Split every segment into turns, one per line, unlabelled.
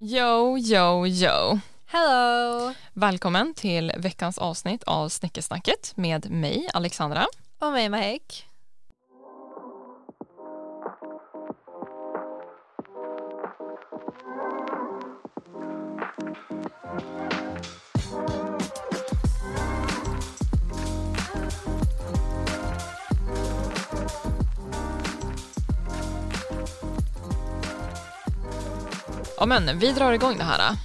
Yo, yo, yo.
Hello!
Välkommen till veckans avsnitt av Snickersnacket med mig, Alexandra.
Och mig Mahek.
Ja, men vi drar igång det här.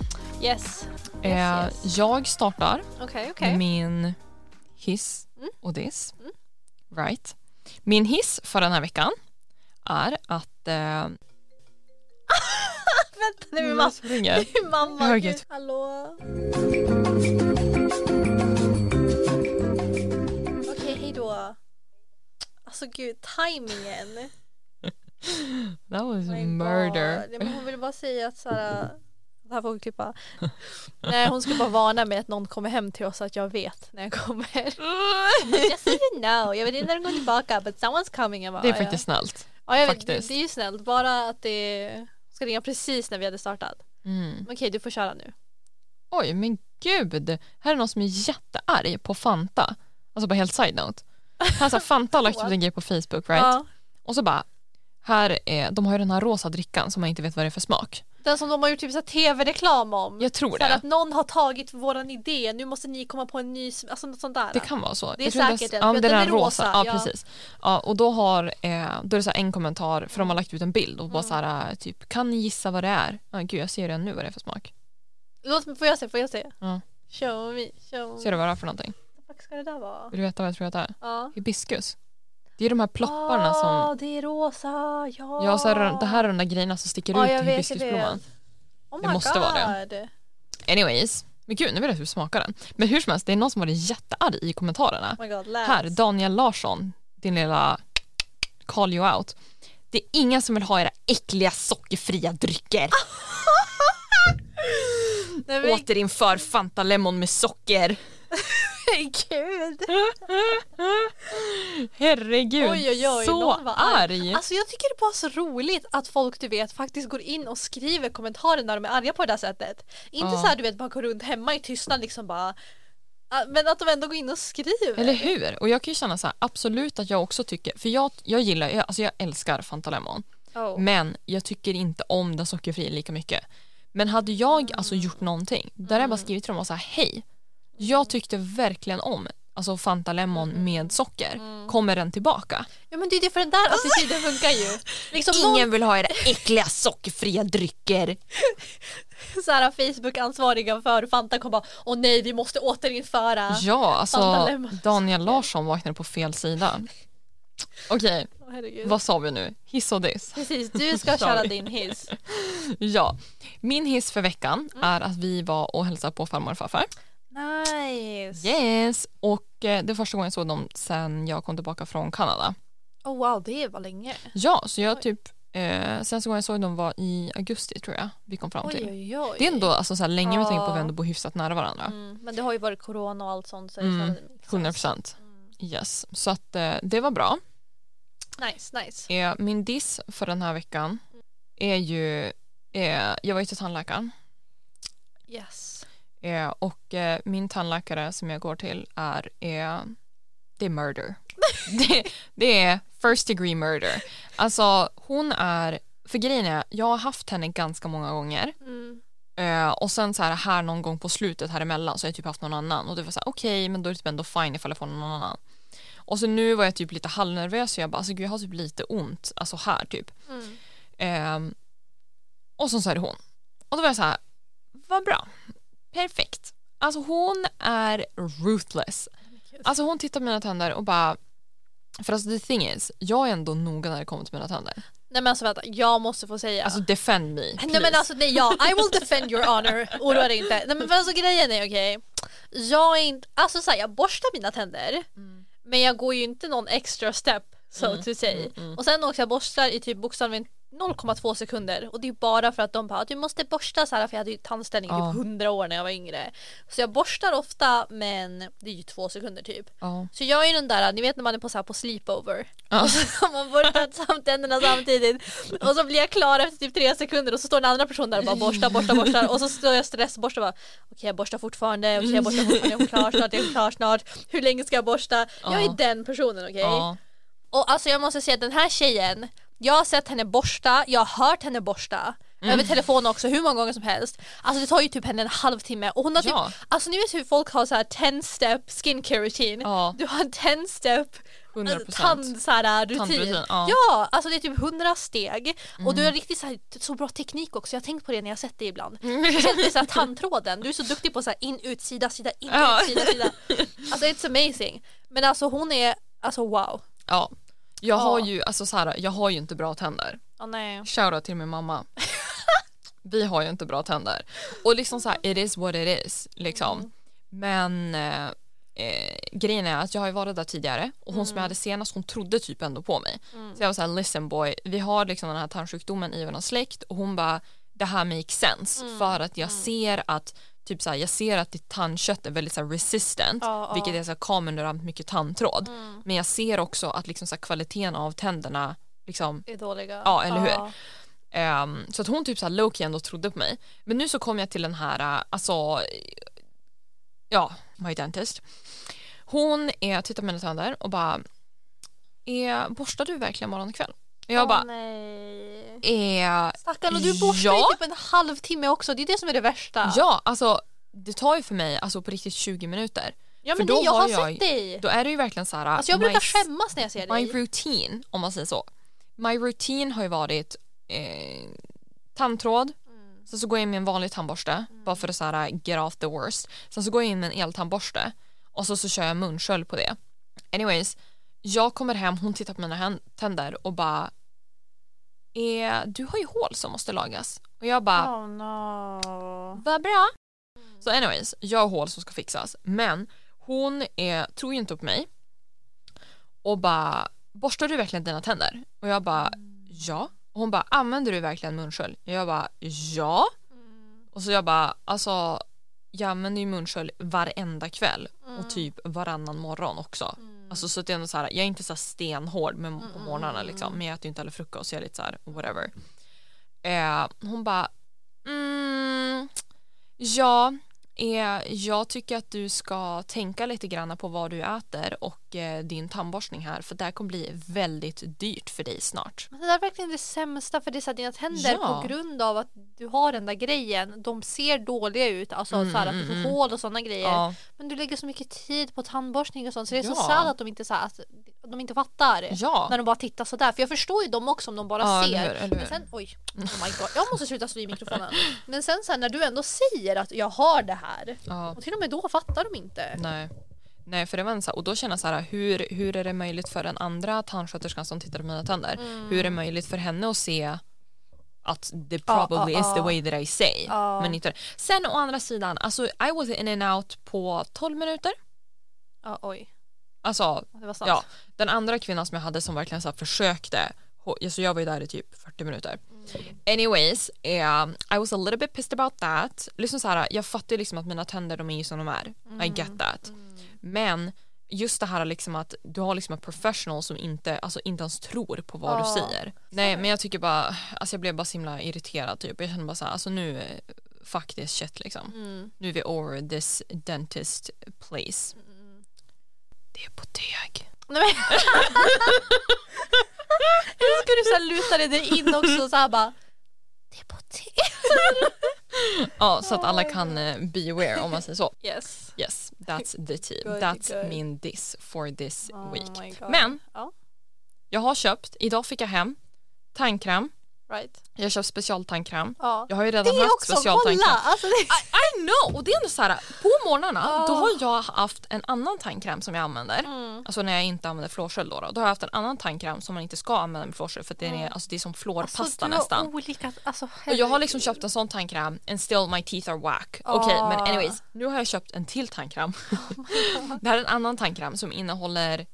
Yes. Yes,
Eh,
yes.
Jag startar
Okej, okej. Mm.
min hiss och diss. Right. Min hiss för den här veckan är att... Eh,
Vänta, nu är min mamma.
ringer.
Min mamma.
Hör
gud.
gud.
Hallå? Okej, hej då. Alltså gud, tajmingen.
That was
Oh My
murder.
God. Nej, men hon ville bara säga att såhär, det här får hon klippa. Nej, hon skulle bara varna mig att någon kommer hem till oss så att jag vet när jag kommer. Just so you know, jag vet inte när de går tillbaka but someone's coming. Jag bara,
Det är
"Ja, ja."
faktiskt snällt.
Ja, jag vet, det,
Faktiskt.
det är ju snällt. Bara att det ska ringa precis när vi hade startat.
Mm.
Men Okej, du får köra nu.
Oj, men gud. Här är någon som är jättearg på Fanta. Alltså bara helt side-note. Alltså, Fanta har lagt ut
What?
en grej på Facebook, right?
Ja,
Och så bara, här är, de har ju den här rosa drickan som man inte vet vad det är för smak.
den som de har gjort typ så här tv-reklam om.
Jag tror
Så här
det.
att någon har tagit våran idé, nu måste ni komma på en ny, sm- alltså något sånt där.
Det kan vara så.
Det är
Jag tror inte
säkert
ens-
den,
ja,
för
men den,
den
är
är
rosa.
rosa,
Ja,
ja.
precis. Ja, och då, har, eh, då är det så här en kommentar, för de har lagt ut en bild och
Mm.
bara så här, eh, typ, kan ni gissa vad det är? Ja, gud, jag ser redan nu vad det är för smak.
Låt mig, får jag se, får jag se?
Ja.
Show me, show me.
Ser du vad det är för någonting?
Vad fuck ska det där vara?
Vill du veta vad jag tror att det är?
Ja.
Hibiskus. Det är de här plopparna som...
Ah, det är rosa, ja.
Ja, så här, det här är de där grejerna som sticker
Ja,
ut
jag
i
vet, jag
hibiskusblomman.
vet. Oh my
det måste
God. Oh
vara det. Anyways, men gud, nu vill jag att du smakar den. Men hur som helst, det är någon som varit jättearg i kommentarerna.
Oh my god, läs.
Här, Daniel Larsson, din lilla call you out. Det är ingen som vill ha era äckliga sockerfria drycker.
Nej Ah, men
Återinför Fanta Lemon med socker.
gud.
Herregud,
Oj, oj, oj,
så
någon var
arg.
Alltså jag tycker det är bara så roligt att folk du vet faktiskt går in och skriver kommentarer när de är arga på det där sättet. Inte
Ja.
så här du vet bara går runt hemma i tystnad liksom bara Ah, men att de ändå går in och skriver.
Eller hur? Och jag kan ju känna så här, absolut att jag också tycker, för jag, jag gillar, jag, alltså jag älskar Fanta Lemon,
Oh.
men jag tycker inte om den sockerfria lika mycket. Men hade jag alltså gjort någonting, där hade jag bara
Mm.
skrivit till dem och så här, hej, jag tyckte verkligen om alltså Fanta Lemon
Mm.
med socker, kommer den tillbaka?
Ja men det är det för den
Ah.
där attityden funkar ju. Liksom Ingen...
vill ha era äckliga sockerfria drycker.
någon så här Facebook-ansvariga för Fanta kommer bara åh nej vi måste återinföra.
Ja, alltså
Fanta Lemon.
Daniel Larsson vaknade på fel sida. Okej,
Åh, herregud.
vad sa vi nu? Hiss och diss.
Precis, du ska köra
Sorry.
din hiss.
Ja, min hiss för veckan
Mm.
är att vi var och hälsade på farmor och farfar.
Nice.
Yes! Och eh, det är första gången jag såg dem sen jag kom tillbaka från Kanada.
Oh wow, det var länge.
Ja, så jag typ, eh, senaste gången jag såg dem var i augusti tror jag vi kom fram
Oj
till.
oj oj.
Det är ändå alltså, så här, länge vi
Ja.
tänker på att vi ändå bor hyfsat nära varandra.
Mm, men det har ju varit corona och allt sånt. Så
Mm,
det är så Mm.
100 procent. Yes, så att eh, det var bra.
Nice, nice.
Eh, min diss för den här veckan
Mm.
är ju, eh, jag var ju till tandläkaren
Yes.
eh, och eh, min tandläkare som jag går till är, eh, det är murder. det, det är first degree murder. Alltså hon är, för grejen är, jag har haft henne ganska många gånger
Mm.
Eh, och sen så här, här någon gång på slutet här emellan så har jag typ haft någon annan och det var så här okej men då är det typ ändå fine ifall jag får någon annan. Och så nu var jag typ lite halvnervös och jag bara alltså gud jag har typ lite ont alltså här typ.
Mm.
Ehm, och så sa det hon. Och då var jag så här, vad bra, perfekt. Alltså hon är ruthless. Alltså hon tittar på mina tänder och bara, för alltså the thing is, jag är ändå noga när det kommer till mina tänder.
Nej men alltså vänta, jag måste få säga.
Alltså defend me, please.
nej men alltså nej ja, I will defend your honor. Oroa dig inte. Nej men för alltså grejen är okej. Jag är inte, alltså såhär jag borstar mina tänder.
Mm. mm,
Men jag går ju inte någon extra step so to say. Och sen också jag borstar i typ bokstavligen 0,2 sekunder och det är bara för att de bara du måste borsta så här för jag hade ju tandställning i
Ja.
typ 100 år när jag var yngre. Så jag borstar ofta men det är ju två sekunder typ.
Ja.
Så jag är ju den där, ni vet när man är på, så här, på sleepover
Ja.
och så har man borstat samt tänderna samtidigt och så blir jag klar efter typ tre sekunder och så står den andra personen där och bara borstar, borstar, borstar och så står jag stressborstar och bara okej jag borstar fortfarande, okej jag borstar fortfarande, jag är klar snart, jag är klar snart, hur länge ska jag borsta? Jag är
Ja.
den personen okej?
Ja.
Och alltså jag måste säga att den här tjejen, jag har sett henne borsta, jag har hört henne borsta.
Mm.
Över telefon också, hur många gånger som helst. Alltså det tar ju typ henne en halvtimme och hon har typ,
Ja.
alltså ni vet hur folk har så här 10 step skincare routine.
Ja.
Du har en 10 step
100
alltså, tand så här, rutin.
Tandrutin, ja. Mm.
alltså det är typ 100 steg och du har riktigt så, här, så bra teknik också. Jag har tänkt på det när jag har sett det ibland.
Mm.
Speciellt i så här tandtråden, du är så duktig på så här in, ut, sida, sida, in,
Ja.
ut, sida, sida. Alltså it's amazing. Men alltså hon är, alltså wow.
Ja. Jag har
Ja.
ju, alltså så här, jag har ju inte bra tänder.
Oh, nej.
Shoutout till min mamma. Vi har ju inte bra tänder. Och liksom så här, it is what it is. Liksom.
Mm.
Men eh, eh, grejen är att jag har ju varit där tidigare och hon som
Mm.
jag hade senast hon trodde typ ändå på mig. Så jag var så här, listen boy, vi har liksom den här tandsjukdomen i vår släkt och hon bara, det här makes sense
Mm.
för att jag ser att Typ så här, jag ser att ditt tandkött är väldigt så här resistant
Ja, Mm. ja.
vilket är så här, kamerorant mycket tandtråd men jag ser också att liksom så här, kvaliteten av tänderna liksom
är dåliga. Ah.
Ja, eller hur? Ehm, så att hon typ så här low-key ändå trodde på mig. Men nu så kom jag till den här, eh, alltså, eh, ja, my dentist. Hon är, tittar på mina tänder och bara, eh, borstar du verkligen morgon och kväll? Och jag bara,
nej.
eh,
Stackarn, och du borstar
Ja.
ju typ en halvtimme också. Det är det som är det värsta.
ja, alltså det tar ju för mig alltså på riktigt 20 minuter.
Ja,
för
men
då
nej, jag
har
har
jag-
sett dig.
Då är det ju verkligen så här, eh,
Alltså jag brukar
my-
skämmas när jag ser
My
dig.
routine, om man säger så. My routine har ju varit eh, tandtråd, sen så går jag in med en vanlig tandborste bara för att så här, uh, get off the worst. Sen så går jag in med en eltandborste och så, så kör jag munskölj på det. Anyways, jag kommer hem, hon tittar på mina hän- tänder och bara eh, du har ju hål som måste lagas. Och jag bara
Oh no.
vad bra. Så anyways, jag har hål som ska fixas. Men hon är, tror ju inte på mig och bara borstar du verkligen dina tänder? Och jag bara ja. Och hon bara använder du verkligen munskölj? Och jag bara ja. Och så jag bara alltså jag använder ju munskölj varenda kväll och typ varannan morgon också. Alltså så att det är ändå så här, jag är inte så här stenhård med, på morgnarna liksom men jag äter ju inte heller frukost så jag är lite så här whatever. Eh, hon bara mm, Ja, eh, jag tycker att du ska tänka lite grann på vad du äter och eh, din tandborstning här för det här kommer bli väldigt dyrt för dig snart.
Men Alltså, det där är verkligen det sämsta för det är så här, dina tänder
Ja.
på grund av att du har den där grejen. De ser dåliga ut, alltså så här, att du får hål och sådana grejer.
Mm, Ja,
Men du lägger så mycket tid på tandborstning och sånt så det är så
Ja.
sad att de inte, så här, att de inte fattar.
Ja.
När de bara tittar sådär. För jag förstår ju dem också om de bara
Ja,
ser.
eller hur, eller hur.
Men sen, oj, oh my god, jag måste sluta slå i mikrofonen. Men sen så här, när du ändå säger att jag har det här
ja,
och till och med då fattar de inte.
nej. Nej, för det var en så här, och då känner jag så här, hur, hur är det möjligt för den andra tandsköterskan som tittar på mina tänder, hur är det möjligt för henne att se att det
Mm. Ja,
probably
ja,
is the
ja.
way that I say.
Ja.
Men inte. Sen å andra sidan, alltså I was in and out på 12 minuter.
Ja, oj,
Alltså
det var snabbt.
Ja, den andra kvinnan som jag hade som verkligen så här försökte, hå- alltså jag var ju där i typ 40 minuter. Anyways, um, I was a little bit pissed about that. Liksom så här, jag fattar ju liksom att mina tänder de är ju som de är. I get that. Men just det här liksom att du har liksom en professional som inte, alltså inte ens tror på vad
Ja.
du säger. Nej men jag tycker bara, alltså jag blev bara så himla irriterad typ. Jag kände bara så här, alltså nu eh, fuck this shit liksom.
Mm,
Nu är vi over this dentist place.
mm.
Det är på teg.
Nej, men... Eller ska du så här luta dig där in också så här bara det är på te.
Ja, så att alla kan eh, be aware om man säger så.
Yes.
Yes, that's the tea.
Good,
That's
good.
min diss for this
Oh my
week.
God.
Men
Ja,
jag har köpt, idag fick jag hem tandkräm.
right.
Jag har köpt specialtandkräm.
Ja.
Jag har ju
Det
redan
är
haft
också, kolla!
specialtandkräm.
Alltså det...
I, I know! Och det är ändå så här, på morgnarna då
Ah.
har jag haft en annan tandkräm som jag använder.
Mm.
Alltså när jag inte använder flårskölj då, då. Då har jag haft en annan tandkräm som man inte ska använda med flårskölj för att den är, alltså, det är som flårpasta
Ah. alltså, du har
nästan.
Olika, alltså,
Och jag har liksom köpt en sån tandkräm and still my teeth are whack. Okej
Ah. Oh
men anyways, nu har jag köpt en till tandkräm. det här är en annan tandkräm som innehåller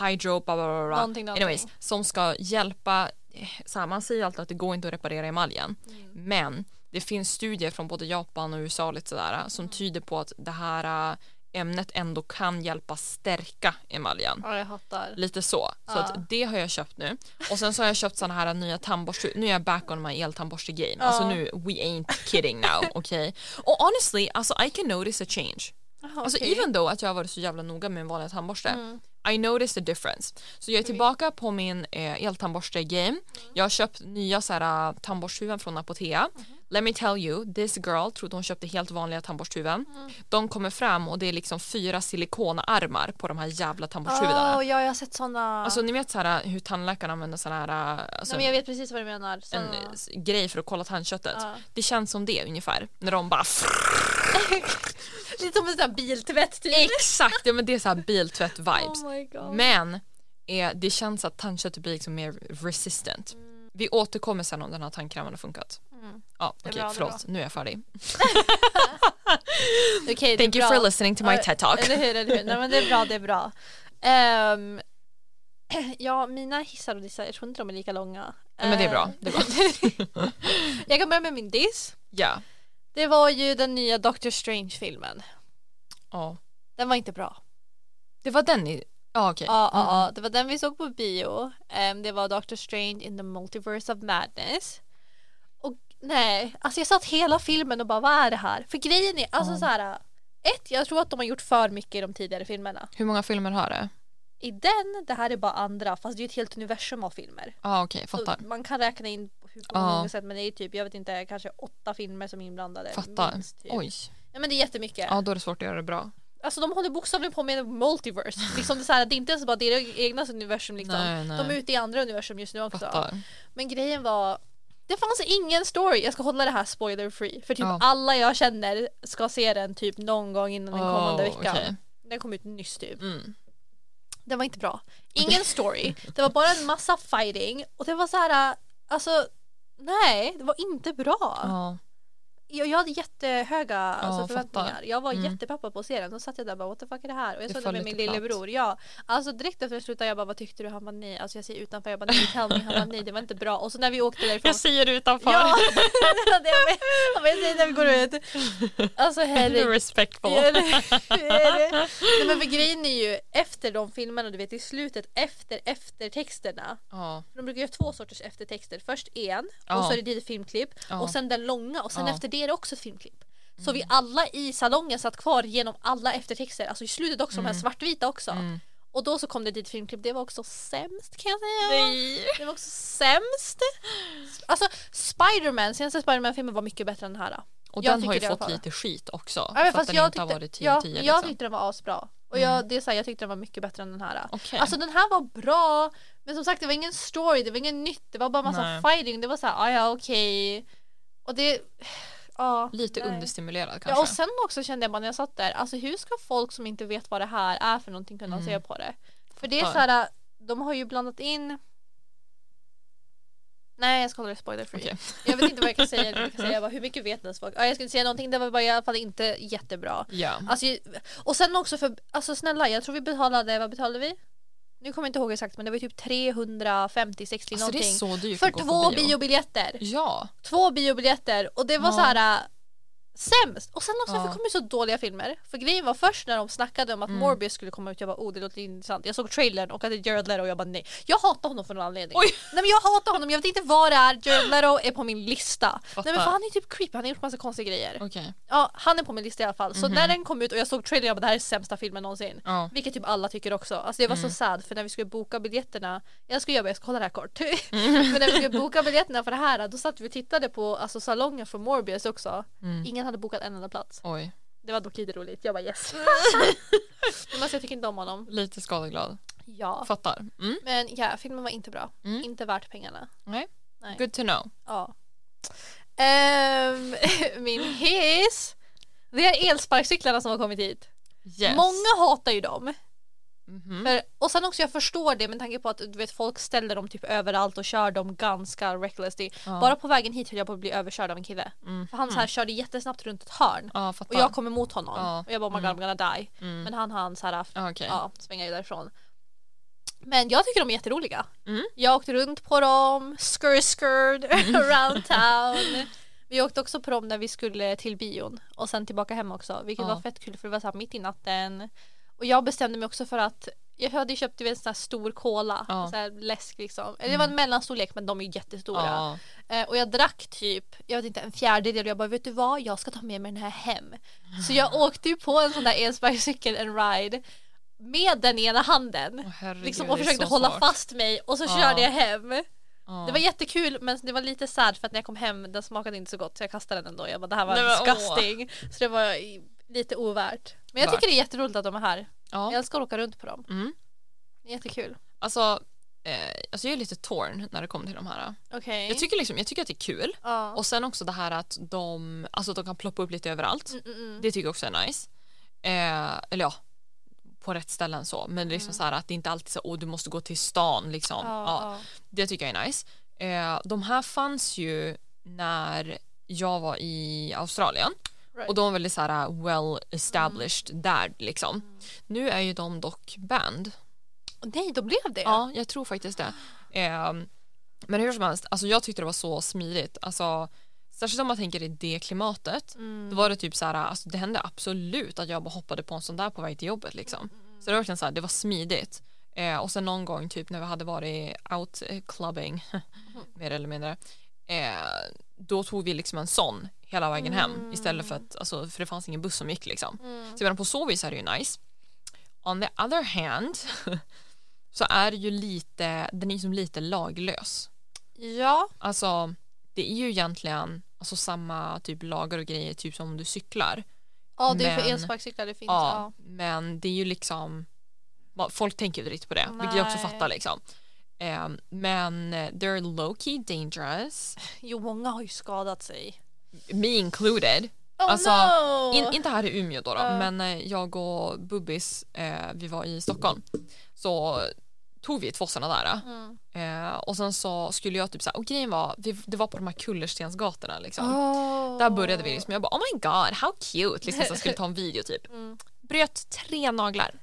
hydro bla bla bla, bla.
Någonting, någonting.
Anyways, som ska hjälpa eh, så här, man säger alltid att det går inte att reparera emaljen.
Mm.
Men det finns studier från både Japan och USA lite sådär,
Mm.
som tyder på att det här äh, ämnet ändå kan hjälpa stärka emaljen.
Ja, jag hattar.
Lite så. Så
Ja.
att det har jag köpt nu. Och sen så har jag köpt sådana här nya tandborstar. Nu är jag back on my eltandborste game. Alltså
Ja.
nu, we ain't kidding now. Okej? Och honestly, alltså I can notice a change.
Jaha,
Alltså
okej.
even though att jag har varit så jävla noga med min vanliga tandborste.
Mm.
I noticed the difference. Så jag är tillbaka på min eh, eltandborste game.
Mm.
Jag har köpt nya så här, äh, tandborsthuvuden från Apotea.
Mhm.
Let me tell you, this girl trodde hon köpte helt vanliga tandborsthuvuden.
Mm.
De kommer fram och det är liksom fyra silikonarmar på de här jävla tandborsthuvudena.
Åh, ja, jag har sett sådana.
Alltså ni vet så här, hur tandläkarna använder sån här äh, alltså,
Nej, men jag vet precis vad du menar.
en
Såna...
eh, s- grej för att kolla tandköttet.
Ja.
Det känns som det ungefär. När de bara
Lite som en sån här biltvätt typ.
exakt, ja, men det är så här biltvätt-vibes.
Oh my god.
Men eh, det känns att tandköttet blir liksom mer resistent. Vi återkommer sen om den här tandkrämen har funkat.
Mm.
Ja,
Det är
okej,
bra, det är bra.
förlåt, nu är jag färdig.
Okej, det är
Thank you
bra.
for listening to my
Ja,
TED talk.
Eller hur, eller hur. Nej men det är bra, det är bra. Ehm, ja, mina hissar och dissar, jag tror inte de är lika långa.
Ja, men det är bra,
Ehm,
det är bra.
jag kan börja med min diss.
Ja,
Det var ju den nya Doctor Strange-filmen.
ja.
Den var inte bra.
Det var den ni... Ja, okej. Mm.
Ja, ja, ja. Det var den vi såg på bio. Ehm, det var Doctor Strange in the Multiverse of Madness. Och nej, alltså jag satt hela filmen och bara vad är det här? För grejen är, alltså
Ja.
så här. Ett, jag tror att de har gjort för mycket i de tidigare filmerna.
Hur många filmer har det?
I den, det här är bara andra, fast det är ju ett helt universum av filmer.
Ja, okej, fattar.
Så Typ, man kan räkna in hur på
Ja.
många sätt men det är typ, jag vet inte, kanske åtta filmer som är inblandade.
Fattar.
minst, typ.
Oj.
Ja men det är jättemycket.
Ja, då är det svårt att göra det bra.
Alltså de håller bokstavligen på med en multiverse. Liksom det, är så här, det är inte ens bara deras egna universum liksom.
Nej,
De är
nej.
ute i andra universum just nu också.
Fattar.
Men grejen var, det fanns ingen story. Jag ska hålla det här spoiler free. För typ
Ja.
alla jag känner ska se den typ någon gång innan den kommande
Åh,
veckan.
okej.
Den kom ut nyss typ.
Mm.
Den var inte bra. Ingen story. Det var bara en massa fighting och det var så här, alltså nej, det var inte bra.
Ja.
Jag, jag hade jättehöga alltså, förväntningar.
fattar.
Jag var
Mm.
jättepeppad på serien. Då satt jag där och bara what the fuck är det här? Och jag
Det
såg det
föll
med min
lite platt.
lillebror. Ja. Alltså direkt efter jag slutade jag bara vad tyckte du? Han bara nej. Alltså jag säger utanför. Jag bara nej tell me. Han bara nej det var inte bra. Och så när vi åkte därifrån.
säger utanför.
Ja, det hade jag med. Han bara jag säger när vi går ut. Alltså herregud.
respectful.
Ja, det är det. Nej, men för grejen är ju efter de filmerna, du vet i slutet, efter eftertexterna.
Ja,
För De brukar göra två sorters eftertexter. Först en,
Ja.
och så är det ett filmklipp.
Ja.
Och sen den långa, och sen
Ja. Mm.
efter det är det också ett filmklipp. Så vi alla i salongen satt kvar genom alla eftertexter, alltså i slutet också, de här svartvita också.
Mm.
Och då så kom det dit filmklipp, det var också sämst kan jag säga. Det var också sämst. Alltså Spiderman, senaste Spiderman-filmen var mycket bättre än den här.
Och
Jag
den har ju
tycker det i alla
fått
fall.
lite skit också.
Ja, men
för att
fast
den
jag
inte har
tyckte,
varit 10
ja,
av 10.
jag
liksom. Mm.
tyckte den var asbra. Och jag, det är så här, jag tyckte den var mycket bättre än den här.
Okej.
Alltså den här var bra, men som sagt det var ingen story, det var inget nytt, det var bara massa
Nej.
fighting, det var så här, "Ah, ja okej. Och det, ja.
Lite
nej.
understimulerad kanske.
Ja och sen också kände jag bara när jag satt där, alltså hur ska folk som inte vet vad det här är för någonting kunna
Mm.
se på det? För det är så
Fattar.
här, äh, de har ju blandat in Nej jag ska hålla det spoiler free.
Okej.
Jag vet inte vad jag kan säga, jag kan säga bara, hur mycket vet ens folk? Ja, jag skulle säga någonting, det var bara, i alla fall inte jättebra.
Ja.
Alltså, och sen också för, alltså snälla jag tror vi betalade, vad betalade vi? Nu kommer jag inte ihåg exakt men det var ju typ 350, 60
Alltså det är
någonting.
så dyrt
för
att gå
två
på bio.
biobiljetter!
Ja.
Två biobiljetter och det var
Ja.
så här äh, sämst! Och sen också
Ja.
för det kom ju så dåliga filmer. För grejen var först när de snackade om att
Mm.
Morbius skulle komma ut, jag bara oh det låter intressant. Jag såg trailern och att det är Jared Leto och jag bara nej. Jag hatar honom för någon anledning.
Oj.
Nej men jag hatar honom, jag vet inte vad det är, Jared Leto är på min lista. Nej men
Fattar.
för han är ju typ creepy, han har gjort massa konstiga grejer.
Okej.
Ja, han är på min lista i alla fall.
Mhm.
Så när den kom ut och jag såg trailern, jag bara det här är sämsta filmen någonsin.
Ja.
Vilket typ alla tycker också. Alltså det var
Mm.
så sad för när vi skulle boka biljetterna, jag skulle jobba, jag ska kolla det här kort.
Mm.
Men när vi skulle boka biljetterna för det här, då satt vi och tittade på alltså, salongen från Morbius också.
Mm.
Ingen hade bokat en enda plats.
Oj.
Det var dock lite roligt, jag bara yes.
Mm.
Men alltså jag tycker inte om honom.
Lite skadeglad.
Ja.
Fattar. Mm.
Men ja, filmen var inte bra.
Mm.
Inte värt pengarna.
Nej.
Nej.
Good to know.
Ja. Ehm, min hiss. Det är elsparkcyklarna som har kommit hit.
Yes.
Många hatar ju dem.
Mhm.
För, och sen också jag förstår det med tanke på att du vet, folk ställer dem typ överallt och kör dem ganska reckless. Det,
Ja.
Bara på vägen hit höll jag på att bli överkörd av en kille.
Mm.
För han så här körde jättesnabbt runt ett hörn
Ja, fattar.
och jag kom emot honom.
Ja.
Och jag bara oh my god I'm gonna die.
Mm.
Men han hann så här,
Ja, Okej.
ja, svänga ju därifrån. Men jag tycker de är jätteroliga.
Mm.
Jag åkte runt på dem, skur skurd around town. Vi åkte också på dem när vi skulle till bion och sen tillbaka hem också vilket
Ja.
var fett kul för det var så här mitt i natten. Och jag bestämde mig också för att jag hade ju köpt du vet, en sån här stor cola,
Ja. Mm.
så här läsk liksom. Eller det var en mellanstorlek men de är ju jättestora.
Ja.
Eh, och jag drack typ, jag vet inte, en fjärdedel och jag bara vet du vad, jag ska ta med mig den här hem. Så jag åkte ju på en sån där elsparkcykel, en ride, med den ena handen.
Åh, herregud,
liksom,
det är
och försökte
så
hålla
smart.
fast mig och så
Ja.
körde jag hem.
Ja.
Det var jättekul men det var lite sad för att när jag kom hem den smakade inte så gott så jag kastade den ändå. Jag bara det här var
Nej, men, åh.
disgusting. Så det var i- lite ovärt. Men jag
Värt.
tycker det är jätteroligt att de är här.
ja.
Jag älskar att åka runt på dem.
Mm.
Jättekul.
Alltså, eh, alltså jag är lite torn när det kommer till de här.
Okej.
Jag tycker, liksom, jag tycker att det är kul.
Ja.
Och sen också det här att de, alltså att de kan ploppa upp lite överallt.
Mm, mm, mm.
Det tycker jag också är nice. Eh, eller ja, på rätt ställen så. Men liksom så här att det inte alltid är så åh du måste gå till stan liksom.
Mm. Ja,
Ja,
ja.
Det tycker jag är nice. Eh, de här fanns ju när jag var i Australien.
Right. Mm.
Och de var väldigt så här eh, well established där liksom. Nu är ju de dock band.
Nej, då blev det.
Ja, jag tror faktiskt det. Eh, men hur som helst, alltså jag tyckte det var så smidigt. Alltså, särskilt om man tänker i det klimatet.
Mm.
Då var det typ så här, alltså det hände absolut att jag bara hoppade på en sån där på väg till jobbet liksom.
Mm,
Så det var verkligen så här, det var smidigt. Eh, och sen någon gång typ när vi hade varit out eh, clubbing,
Mm.
mer eller mindre, eh, då tog vi liksom en sån hela vägen
Mm.
hem istället för att, alltså, för det fanns ingen buss som gick liksom. Så redan på så vis är det ju nice. On the other hand så är det ju lite, den är ju som lite laglös.
Ja.
Alltså, det är ju egentligen alltså, samma typ lagar och grejer typ som om du cyklar.
Ja, det är för
Men-
elsparkcyklar det finns.
Ja,
Ja.
men det är ju liksom ma- folk tänker ju inte riktigt på det, vilket jag också
Nej.
fattar liksom. Ehm, men eh, they're low key dangerous,
Jo, många har ju skadat sig.
me included.
Oh
Alltså,
no!
In, inte här i Umeå då, då
Ja.
men eh, jag och Bubbis, eh, vi var i Stockholm, så tog vi två sådana där.
Mm.
Eh, och sen så skulle jag typ såhär, och grejen var, vi, det var på de här kullerstensgatorna liksom.
Oh.
Där började vi liksom, jag bara oh my god, how cute, liksom så jag skulle ta en video typ.
Mm.
Bröt tre naglar.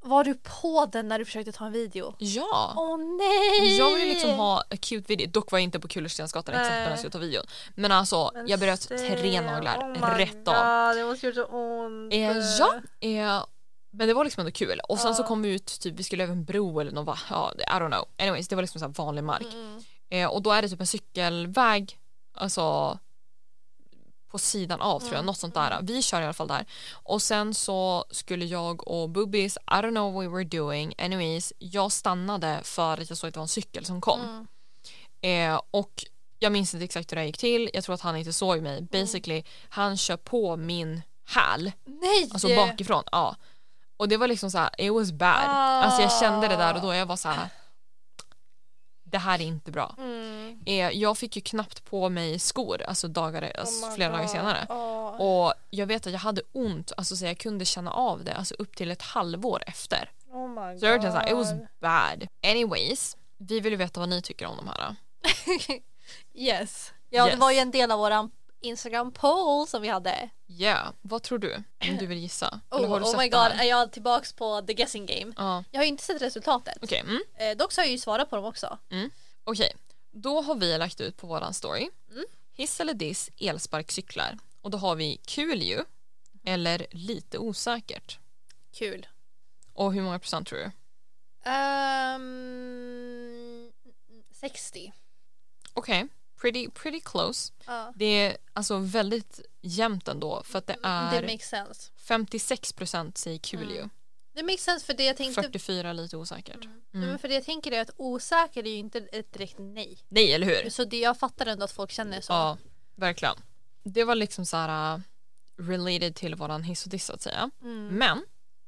Var du på den när du försökte ta en video?
Ja.
Åh nej!
Jag ville liksom ha a cute video, dock var jag inte på Kullerstensgatan
Nej. oh
exakt när jag skulle ta videon. Men alltså jag bröt tre naglar rätt av.
Det måste gjort så ont. Mm,
Eh, ja, eh, men det var liksom ändå kul. Och sen så
Ja.
kom vi ut, typ, vi skulle över en bro eller något, va? ja, I don't know. Anyways, det var liksom så här vanlig mark.
Mm.
Eh, och då är det typ en cykelväg, alltså på sidan av tror jag, något sånt där. Vi kör i alla fall där. Och sen så skulle jag och Bubbies, I don't know what we were doing, anyways, jag stannade för att jag såg att det var en cykel som kom.
Mm.
Eh, och jag minns inte exakt hur det här gick till, jag tror att han inte såg mig. Basically, han kör på min häl,
Nej!
alltså bakifrån. Ja. Och det var liksom så här, it was bad.
Ah.
Alltså jag kände det där och då, jag var så här, det här är inte bra.
Mm.
Eh, jag fick ju knappt på mig skor alltså dagar, alltså
Oh my
flera dagar
God.
senare.
Ja.
Och jag vet att jag hade ont, alltså så jag kunde känna av det alltså upp till ett halvår efter.
Oh my god.
Så jag var verkligen såhär, it was bad. Anyways, vi vill ju veta vad ni tycker om de här.
yes. Ja,
Yes.
det var ju en del av våran Instagram poll som vi hade.
Yeah, vad tror du? Om du vill gissa? Eller
Oh,
har du
oh
sett
my
det
god,
här?
är jag tillbaks på the guessing game?
Ja,
Jag har ju inte sett resultatet.
okej. Mm.
Eh, dock så har jag ju svarat på dem också.
Okej, då har vi lagt ut på våran story.
Mm.
Hiss eller diss elsparkcyklar. Och då har vi kul ju, eller lite osäkert.
Kul.
Och hur många procent tror du?
Ehm, 60.
Okej, pretty, pretty close.
Ja.
Det är alltså väldigt jämnt ändå för att Ah, det är
Det makes sense.
56 procent säger kul ju.
Det makes sense för det jag tänkte Mm.
44 lite osäkert.
Nej, men för det jag tänker är att osäker är ju inte ett direkt nej.
Nej, eller hur?
Så det, jag fattar ändå att folk känner så.
Ja, verkligen. Det var liksom så här äh, related till våran hiss och diss så att säga.
Mm.
Men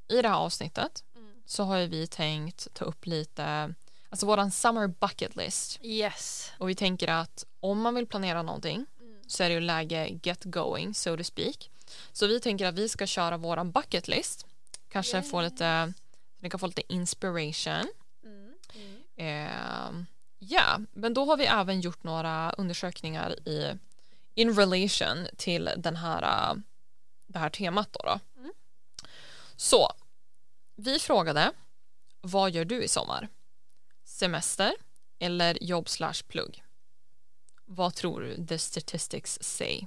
i det här avsnittet så har ju vi tänkt ta upp lite, alltså våran summer bucket list.
Yes.
Och vi tänker att om man vill planera någonting så är det ju läge get going so to speak. Så vi tänker att vi ska köra våran bucket list. Kanske få lite, ni kan få lite inspiration.
Mm.
Ehm, Ja, men då har vi även gjort några undersökningar i in relation till den här, äh, det här temat då. då. Så vi frågade Vad gör du i sommar? Semester eller jobb slash plugg? Vad tror du the statistics say?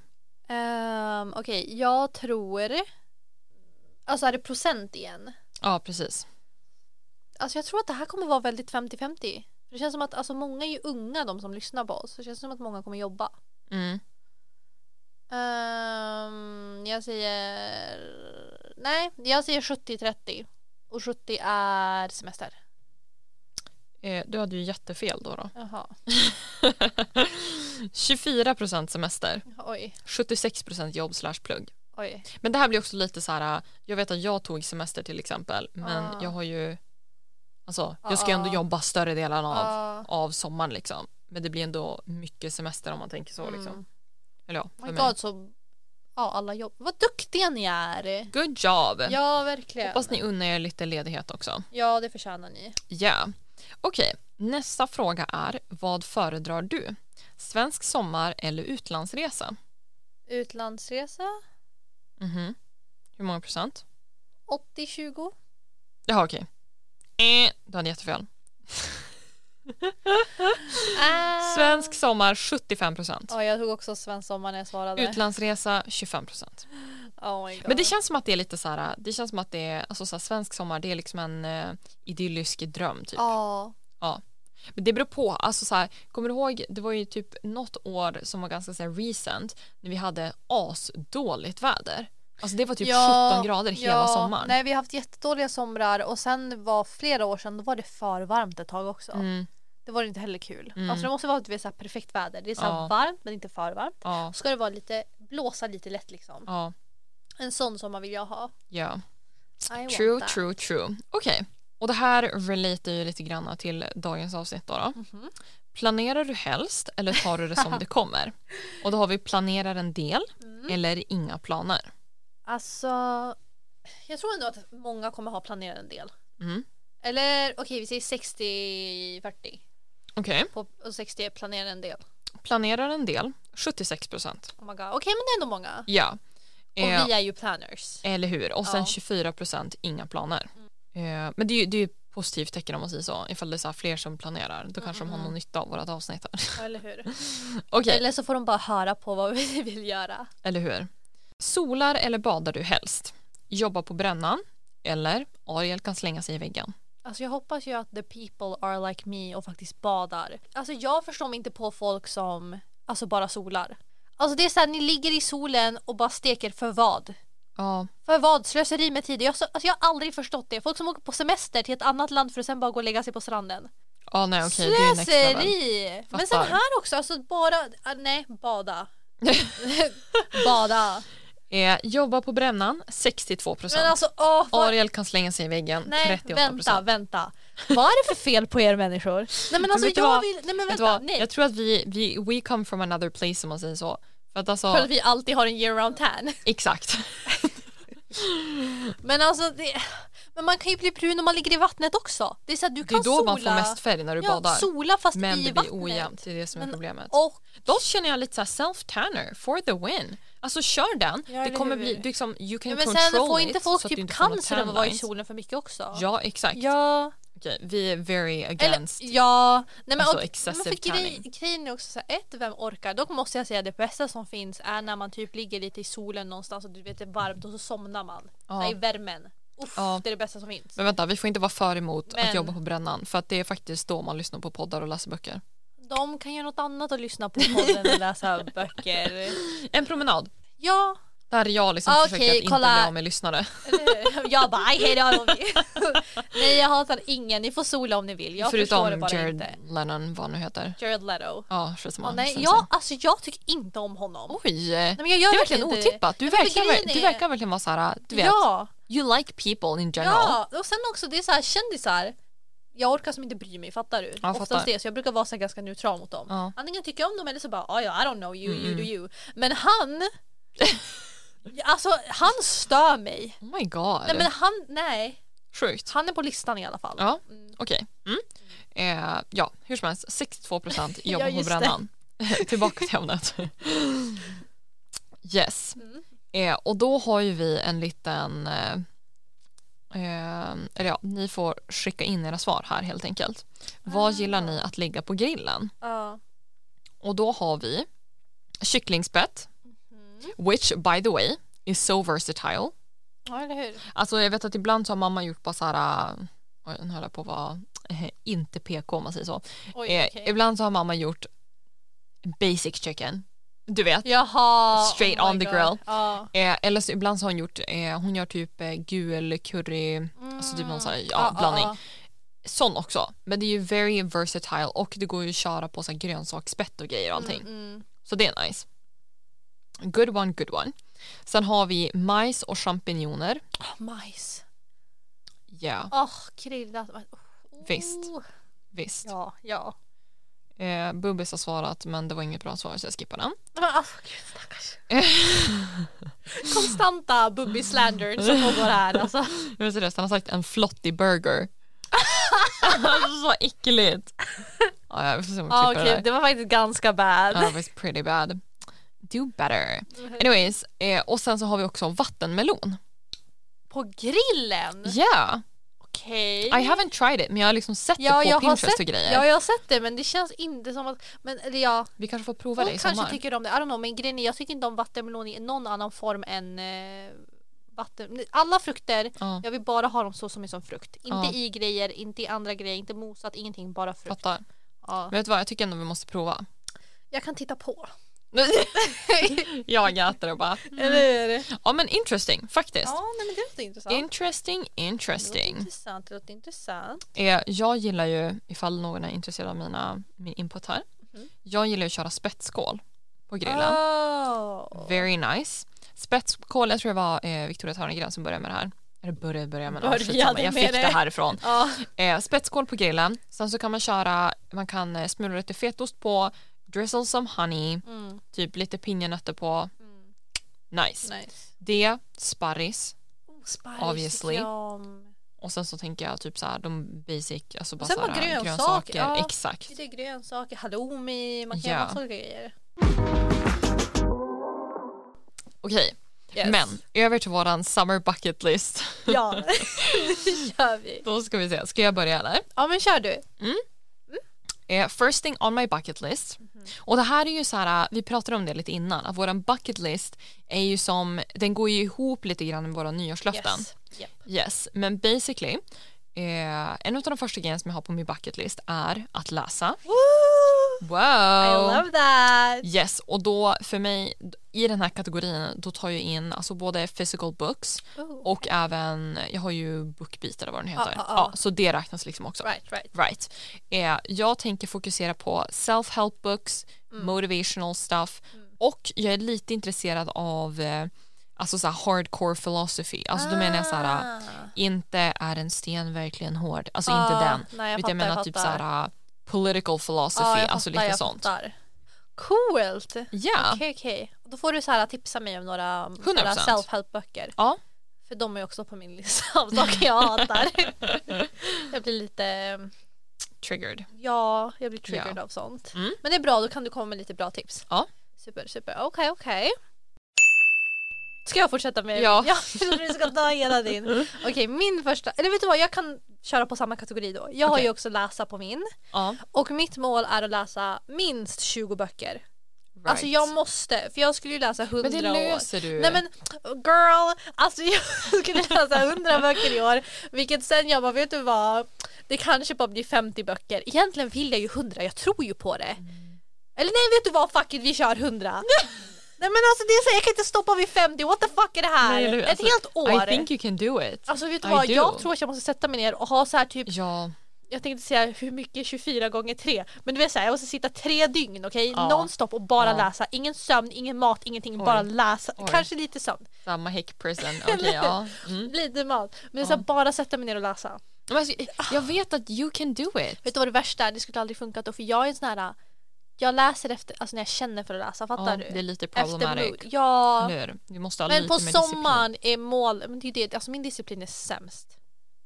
Um, Okej, jag tror... Alltså är det procent igen?
Ja, precis.
Alltså jag tror att det här kommer vara väldigt 50-50. För Det känns som att alltså, många är ju unga de som lyssnar på oss. Så Det känns som att många kommer jobba.
Mm.
Ehm, jag säger... Nej, jag säger 70-30. Och 70 är semester.
Eh, du hade ju jättefel då. då.
Jaha,
24 procent semester,
oj,
76 procent jobb slash plugg.
oj.
Men det här blir också lite så här, jag vet att jag tog semester till exempel, men
Ah.
jag har ju, alltså jag ska ju
Ah.
ändå jobba större delen av,
Ja.
av sommaren liksom. Men det blir ändå mycket semester om man tänker så liksom.
Mm.
Eller ja,
Oh
för
my
mig.
god, så... Ja, alla jobb. Vad duktiga ni är!
Good job!
Ja, verkligen.
Hoppas ni unnar er lite ledighet också.
Ja, det förtjänar ni.
Ja. Okej, nästa fråga är vad föredrar du? Svensk sommar eller utlandsresa?
Utlandsresa,
Mhm. Hur många procent?
80-20.
Jaha, okej. Eh, du hade jättefel.
Ah.
Svensk sommar 75 procent.
Ja, jag tog också svensk sommar när jag svarade.
Utlandsresa 25 procent.
oh my god.
Men det känns som att det är lite så här, det känns som att det är, alltså så här, svensk sommar det är liksom en eh, idyllisk dröm typ.
Ja.
Men det beror på, alltså så här, kommer du ihåg, det var ju typ något år som var ganska så här, recent när vi hade asdåligt väder. Alltså det var typ
Ja,
17 grader hela
ja.
sommaren.
Nej, vi har haft jättedåliga somrar och sen var flera år sedan då var det för varmt ett tag också.
Mm,
Det var inte heller kul.
Mm.
Alltså det måste vara att vi är så här perfekt väder. Det är så här
Ja.
varmt men inte för varmt.
ja,
Ska det vara lite, blåsa lite lätt liksom.
ja,
En sån sommar vill jag ha.
ja.
I want
True,
that.
true, true. Okej, och det här relaterar ju lite grann till dagens avsnitt då. då.
Mhm.
Planerar du helst eller tar du det som det kommer? Och då har vi planerar en del
Mm.
eller inga planer.
Alltså, jag tror ändå att många kommer ha planerat en del.
Mm.
Eller okej, vi säger 60-40.
Okej,
På- Och 60 är planerat en del.
planerar en del, 76 procent.
Oh my god. Okej, men det är ändå många.
Ja.
Och
Eh,
vi är ju planners.
Eller hur? Och sen
Ja. Mm.
24 procent inga planer. Eh, men det är ju det är ju ett positivt tecken om man säger så. Ifall det är så här fler som planerar,
Mm,
då kanske de har någon nytta av vårat avsnitt här.
Ja, Eller hur?
Okej,
Eller så får de bara höra på vad vi vill göra.
eller hur? Solar eller badar du helst? Jobba på brännan? Eller Ariel kan slänga sig i väggen?
Alltså jag hoppas ju att the people are like me och faktiskt badar. Alltså jag förstår mig inte på folk som alltså bara solar. Alltså det är såhär, ni ligger i solen och bara steker för vad?
Ja,
För vad? Slöseri med tid. Jag, så- alltså jag har aldrig förstått det. Folk som åker på semester till ett annat land för att sen bara gå och lägga sig på stranden.
ja nej okej det är next level.
Slöseri! Men sen
Fattar.
här också, alltså bara, ah, nej, bada. bada.
Eh, jobba på brännan 62 procent.
Men alltså åh, vad
Ariel kan slänga sig i väggen
Nej,
38
vänta, vänta. Vad är det för fel på er människor? Nej men alltså
vet du
jag
vad?
vill, nej men
Vet du
vänta,
vad?
nej.
Jag tror att vi, vi we come from another place om man säger så. För att alltså,
För att vi alltid har en year round tan.
exakt.
Men alltså det, men man kan ju bli brun om man ligger i vattnet också. Det är så att du
Det är
kan
då
sola.
man får mest färg när du
ja,
badar.
sola fast
Men
i
det blir
vattnet.
ojämnt, det är det som är
Men-
problemet.
Och
Då känner jag lite så här self-tanner for the win. Alltså kör den,
Ja,
det
eller
kommer
hur?
bli du liksom you can
ja, men
control
sen får inte
it,
folk
så att du
typ
inte får någon
cancer av att vara i
tan
solen för mycket också.
lines. Ja exakt,
Ja,
Okej, vi är very
eller,
against.
ja, nej men,
Alltså,
och,
excessive
men för grej, grejen är också så här, ett, vem orkar? Dock måste jag säga det bästa som finns är när man typ ligger lite i solen någonstans och du vet det är varmt och så somnar man.
Ja.
Nej, i värmen. Uff,
Ja.
det är det bästa som finns.
Men vänta, vi får inte vara för emot att
Men-
jobba på brännan för att det är faktiskt då man lyssnar på poddar och läser böcker.
De kan göra något annat och lyssna på podden och läsa böcker.
En promenad,
Ja,
där jag liksom
Ah, Okej,
försöker att
kolla.
inte bli av med lyssnare.
eller hur? Jag bara, "Aj, hej då. Robbie." Nej, jag hatar ingen. Ni får sola om ni vill. Jag förstår det
Förutom
bara
Jared
inte.
Lennon, vad han nu heter.
Jared Leto.
Ja, skitsamma.
Åh, nej,
Sen
jag,
så.
alltså, jag tycker inte om honom.
Oj!
Nej, men jag gör
det är verkligen
inte det.
otippat. Du,
Nej, men för
verkar,
grejen
du
är-
verkar verkligen vara så här, du vet,
Ja,
you like people in general.
ja, och sen också det är så här kändisar. Jag orkar som inte bry mig, fattar du?
jag
Oftast
fattar.
det, så jag brukar vara så här ganska neutral mot dem.
Ja.
Antingen tycker jag om dem eller så bara, "Ah, ja, I don't know you, you
Mm.
do you. Men han, alltså han stör mig.
Oh my god.
Nej men han, nej.
Sjukt.
Han är på listan i alla fall.
Ja,
Mm.
okej. Mm. Eh, ja, hur som helst, 62 procent jobbar på
just det.
brännan. Tillbaka till ämnet. yes.
Mm.
Eh, och då har ju vi en liten eh, Eh, eller ja, ni får skicka in era svar här helt enkelt. Vad
Ah.
gillar ni att lägga på grillen?
Ja.
Och då har vi kycklingspett,
Mm.
which by the way is so versatile.
ja, eller hur?
Alltså jag vet att ibland så har mamma gjort bara såhär, oj nu höll jag på att vara, eh, inte PK om man säger så.
Oj,
Eh,
okej.
Ibland så har mamma gjort basic chicken, du vet.
Jaha! Oh
Straight
my
on the
God.
grill.
Ja.
Eh, eller så ibland så har hon gjort, eh, hon gör typ eh, gul curry, alltså typ någon sån här, ja,
Ja, ja,
blandning.
ja.
Sån också. Men det är ju very versatile och det går ju att köra på så här grönsaksbett och grejer och allting.
Mm, mm.
Så det är nice. Good one, good one. Sen har vi majs och champinjoner.
Ah, majs.
Ja,
Åh, kryddat. Oh.
Visst. visst.
Ja, ja.
Eh, Bubbis har svarat men det var inget bra svar så jag skippar den.
Men alltså gud stackars. Konstanta bubby slander som pågår här alltså.
Jag vet inte, det, han har sagt en flottig burger. alltså så äckligt. Ah, ja, vi får se om vi
Ja
klipper
okej,
det där.
det var faktiskt ganska bad.
Ja, det var pretty bad. Do better. Anyways, eh, och sen så har vi också vattenmelon.
På grillen?
Yeah,
Okej.
I haven't tried it men jag har liksom sett
Mm. Ja,
det på
jag har
Pinterest
sett,
och grejer.
ja, jag har sett det men det känns inte som att, men eller ja,
Vi kanske får prova det i
folk kanske
sommar.
tycker om det, I don't know, men grejen är jag tycker inte om vattenmelon i någon annan form än eh, vatten, alla frukter,
Ja,
jag vill bara ha dem så som är som frukt. Inte
Ja.
i grejer, inte i andra grejer, inte mosat, ingenting, bara frukt.
fattar.
Ja.
Men vet du vad, jag tycker ändå vi måste prova.
Jag kan titta på.
jag äter och bara,
Eller?
ja men interesting faktiskt.
Ja, nej, men det låter intressant.
Interesting,
Det låter
interesting.
intressant, det låter intressant.
Eh, jag gillar ju, ifall någon är intresserad av mina, min input här,
Mhm.
jag gillar ju att köra spetsskål på grillen.
Oh.
Very nice. Spetskål, jag tror det var eh, Victoria Törnegren som började med det här. Eller började, började men ja,
Började
skitsamma. jag
med
fick det
det.
härifrån.
Ja.
Eh, spetskål på grillen, sen så kan man köra, man kan eh, smula lite fetost på, drizzle some honey,
Mm.
typ lite pinjenötter på.
Mm.
Nice.
Nice.
Det, sparris
Oh, sparris
Obviously.
tycker jag om.
och sen så tänker jag typ så här de basic, alltså bara
sen
så här,
bara grönsaker, ja.
Exakt.
Det är grönsaker, halloumi, man kan
Ja.
göra massa olika grejer.
Okej,
Yes.
men över till våran summer bucket list.
Ja, det gör vi.
Då ska vi se, ska jag börja eller?
Ja men kör du.
Eh, First thing on my bucket list.
Mhm.
Och det här är ju så här, eh, vi pratade om det lite innan, att våran bucket list är ju som, den går ju ihop lite grann med våra nyårslöften.
Yes. Japp.
Yes, men basically, eh, en av de första grejerna som jag har på min bucket list är att läsa.
Woo!
Wow!
I
Oh.
love that!
Yes, och då för mig i den här kategorin då tar jag in alltså både physical books
Oh.
och även, jag har ju bookbeat eller vad den heter.
ja, ja.
Ja, så det räknas liksom också.
Right, right.
Right. Eh, jag tänker fokusera på self-help books,
Mm.
motivational stuff och jag är lite intresserad av eh, alltså så här hardcore philosophy. Alltså då menar jag så här,
Ah.
inte är en sten verkligen hård, alltså
Ah,
inte den.
nej, jag
utan jag
fattar,
menar
jag
typ så
fattar.
här political philosophy,
Ja, jag
alltså
fattar,
lite
jag
sånt.
fattar. Coolt! Okej,
Ja,
okej. Då får du så här tipsa mig om några, några
100%.
self-help-böcker.
ja,
För de är också på min lista av saker jag hatar. jag blir lite,
triggered.
ja, jag blir triggered av sånt.
Mm.
Men det är bra, då kan du komma med lite bra tips.
Ja.
Super, super. Okej, okej. Ska jag fortsätta med?
Ja.
jag tror du ska ta hela din. Okej, min första, eller vet du vad, jag kan köra på samma kategori då. Jag har
Okej.
ju också läsa på min.
Ja,
Och mitt mål är att läsa minst 20 böcker.
right.
Alltså jag måste, för jag skulle ju läsa 100
men det
år.
löser du.
Nej men girl, alltså jag skulle läsa 100 böcker i år vilket sen jag bara vet du vad det kanske bara blir 50 böcker. Egentligen vill jag ju 100, jag tror ju på
Mm.
det. Eller nej vet du vad fuck it, vi kör 100. nej men alltså det är så här, jag kan inte stoppa vid 50, what the fuck är det här?
Nej, eller hur?
Ett
Alltså,
helt år.
I think you can do it.
Alltså vet du
I
vad,
do.
jag tror att jag måste sätta mig ner och ha så här typ
Ja,
jag tänkte säga hur mycket 24 gånger 3 men du vet såhär jag måste sitta tre dygn okej
Ja.
nonstop och bara
Ja.
läsa ingen sömn, ingen mat, ingenting
Oj.
bara läsa
Oj.
kanske lite sömn,
samma hick prison. Okej, ja. Mm.
lite mat men så här, bara sätta mig ner och läsa
Men alltså, jag vet att you can do it.
vet du vad det värsta är? Det skulle aldrig funka då för jag är en sån här jag läser efter, alltså när jag känner för att läsa fattar
Ja,
du?
det är lite
efter
problematic.
mood, ja
Nu är det. Vi måste ha
men
lite
på
mer
sommaren är mål, men det är ju det, alltså min disciplin är sämst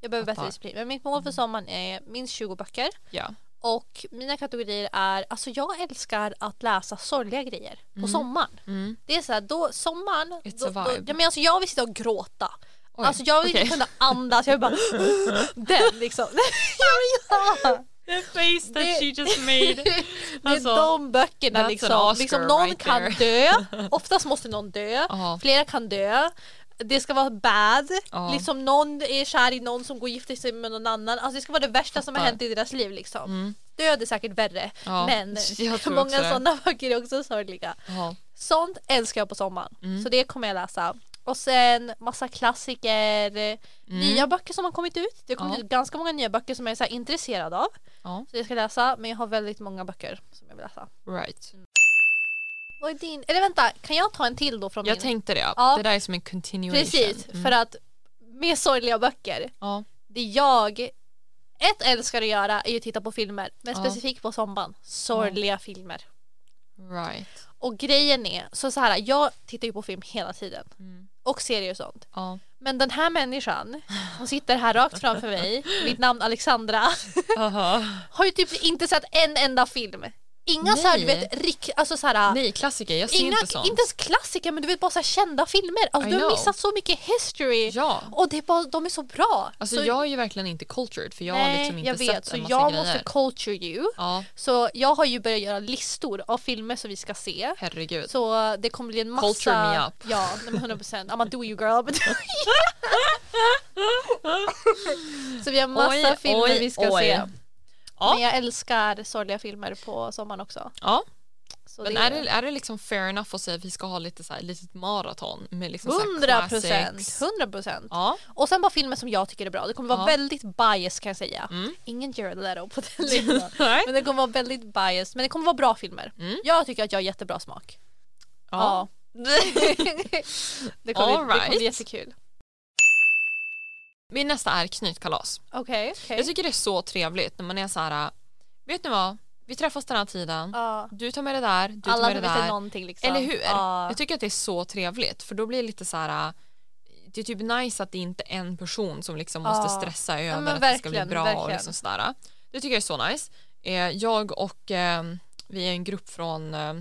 jag behöver
Fattar. Mm.
bättre disciplin men mitt mål för sommaren är minst 20 böcker
disciplin. Ja.
Och mina kategorier är, alltså jag älskar att läsa sorgliga grejer på sommaren.
Mm.
Det är så här, då sommaren,
It's
då,
a
då,
vibe.
ja, men alltså jag vill sitta och gråta.
Oj,
Alltså jag vill
okej.
inte kunna andas, jag vill bara den liksom. ja, men ja.
The face that
Det-
she just made.
Det är
Alltså,
de böckerna
that's an
liksom.
Oscar
liksom någon
right
kan dö, oftast måste någon dö,
Ja.
flera kan dö. Det ska vara bad,
Ja.
liksom någon är kär i någon som går och gifter sig med någon annan. Alltså det ska vara det värsta som har
Fattar.
hänt i deras liv liksom.
Mm.
Död är säkert värre,
Ja,
men
jag tror också det.
många sådana böcker är också sorgliga.
Ja.
Sånt älskar jag på sommaren,
Mm.
så det kommer jag läsa. Och sen massa klassiker, nya böcker som har kommit ut. Det har kommit
Mm. Ja.
ut ganska många nya böcker som jag är så här intresserad av.
Ja.
Så jag ska läsa, men jag har väldigt många böcker som jag vill läsa.
Right.
Vad är din? Eller vänta, kan jag ta en till då från
Jag
min?
tänkte det.
Ja.
Det där är som en continuation.
Precis,
Mm.
för att med sorgliga böcker,
Ja.
det jag ett älskar att göra är ju att titta på filmer, men
Ja.
specifikt på sommaren, sorgliga filmer.
Right.
Och grejen är, så, så här, jag tittar ju på film hela tiden
Mm.
och serier och sånt.
Ja.
Men den här människan som sitter här rakt framför mig, mitt namn Alexandra,
Aha.
har ju typ inte sett en enda film. Inga såhär du
Nej.
vet, rik, alltså såhär,
Nej, klassiker. Jag ser
inga,
inte sånt.
inte ens klassiker men du vet bara såhär kända filmer. Alltså,
I
du har
know.
missat så mycket history
Ja.
och det är bara, de är så bra.
Alltså
så,
jag är ju verkligen inte cultured för jag har
nej,
liksom inte
jag vet,
sett en
så
massa
jag
grejer.
måste culture you.
Ja,
Så jag har ju börjat göra listor av filmer som vi ska se.
herregud.
Så det kommer bli en massa...
Culture me up.
Ja, nej, men 100 procent. I'm a do you girl. but- så vi har massa
Oj,
filmer
oj,
vi ska
oj.
se.
Ja.
Men jag älskar sorgliga filmer på sommaren också.
Ja,
Så
men är det, är det liksom fair enough att säga att vi ska ha lite så här, litet maraton med liksom så här
100 procent.
classics?
100 procent.
Ja,
Och sen bara filmer som jag tycker är bra. Det kommer vara
Ja.
väldigt bias kan jag säga.
Mm.
Ingen Jared Leto på den listan.
Nej.
men det kommer vara väldigt bias. Men det kommer vara bra filmer.
Mm.
Jag tycker att jag har jättebra smak.
ja.
det, kommer, bli- det kommer
Alright.
bli jättekul.
Min nästa är knytkalas.
Okej, okej.
Jag tycker det är så trevligt när man är så här, vet ni vad, vi träffas den här tiden,
Ja.
du tar med det där, du tar
Alla som
med
inte
det
säger
där.
någonting liksom.
Eller hur?
Ja.
Jag tycker att det är så trevligt för då blir det lite så här äh, det är typ nice att det inte är en person som liksom
Ja.
måste stressa över
men
att det ska bli
verkligen,
bra och
verkligen.
liksom sådär. Det tycker jag är så nice. Eh, jag och eh, vi är en grupp från eh,